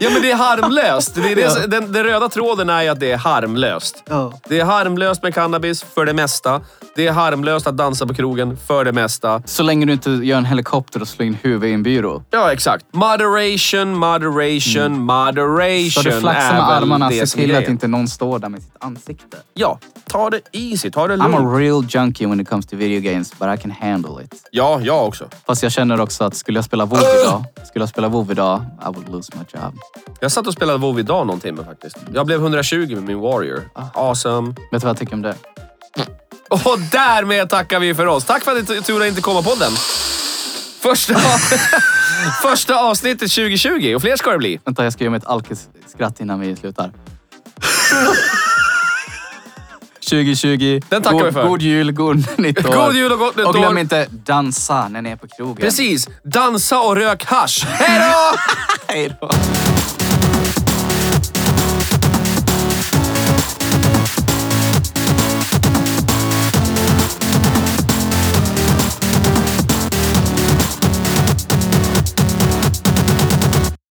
S2: Ja, men det är harmlöst. Det är det,
S3: Ja.
S2: den, den röda tråden är ju att det är harmlöst.
S3: Ja.
S2: Det är harmlöst med cannabis för det mesta. Det är harmlöst att dansa på krogen för det mesta.
S3: så länge du inte gör en helikopter och slår in huvudet i en byrå.
S2: Ja, exakt. Moderation, moderation, moderation.
S3: Så du flaxar med
S2: är väl
S3: armarna,
S2: det
S3: se
S2: som är
S3: till att
S2: grejen.
S3: inte någon står där med sitt ansikte.
S2: Ja, ta det easy. Ta det
S3: I'm
S2: lugnt.
S3: a real junkie when it comes to video games, but I can handle it.
S2: Ja, jag också.
S3: Fast jag känner också att skulle jag spela WoW idag, skulle jag spela WoW idag, I would lose my job.
S2: Jag satt och spelade WoW idag någon timme faktiskt. Jag blev 120 med min Warrior. Awesome.
S3: Vet du vad jag tycker om det?
S2: Och därmed tackar vi för oss. Tack för att ni turade inte komma på den. Första, första avsnittet 2020 och fler ska det bli.
S3: Vänta, jag ska göra mitt alkis-skratt innan vi slutar. 2020.
S2: Den tackar
S3: god,
S2: vi för.
S3: God jul, god nytt år.
S2: God jul och gott nytt
S3: Och glöm
S2: år.
S3: inte dansa när ni är på krogen.
S2: Precis. Dansa och rök hasch. Hej då!
S3: Hej då.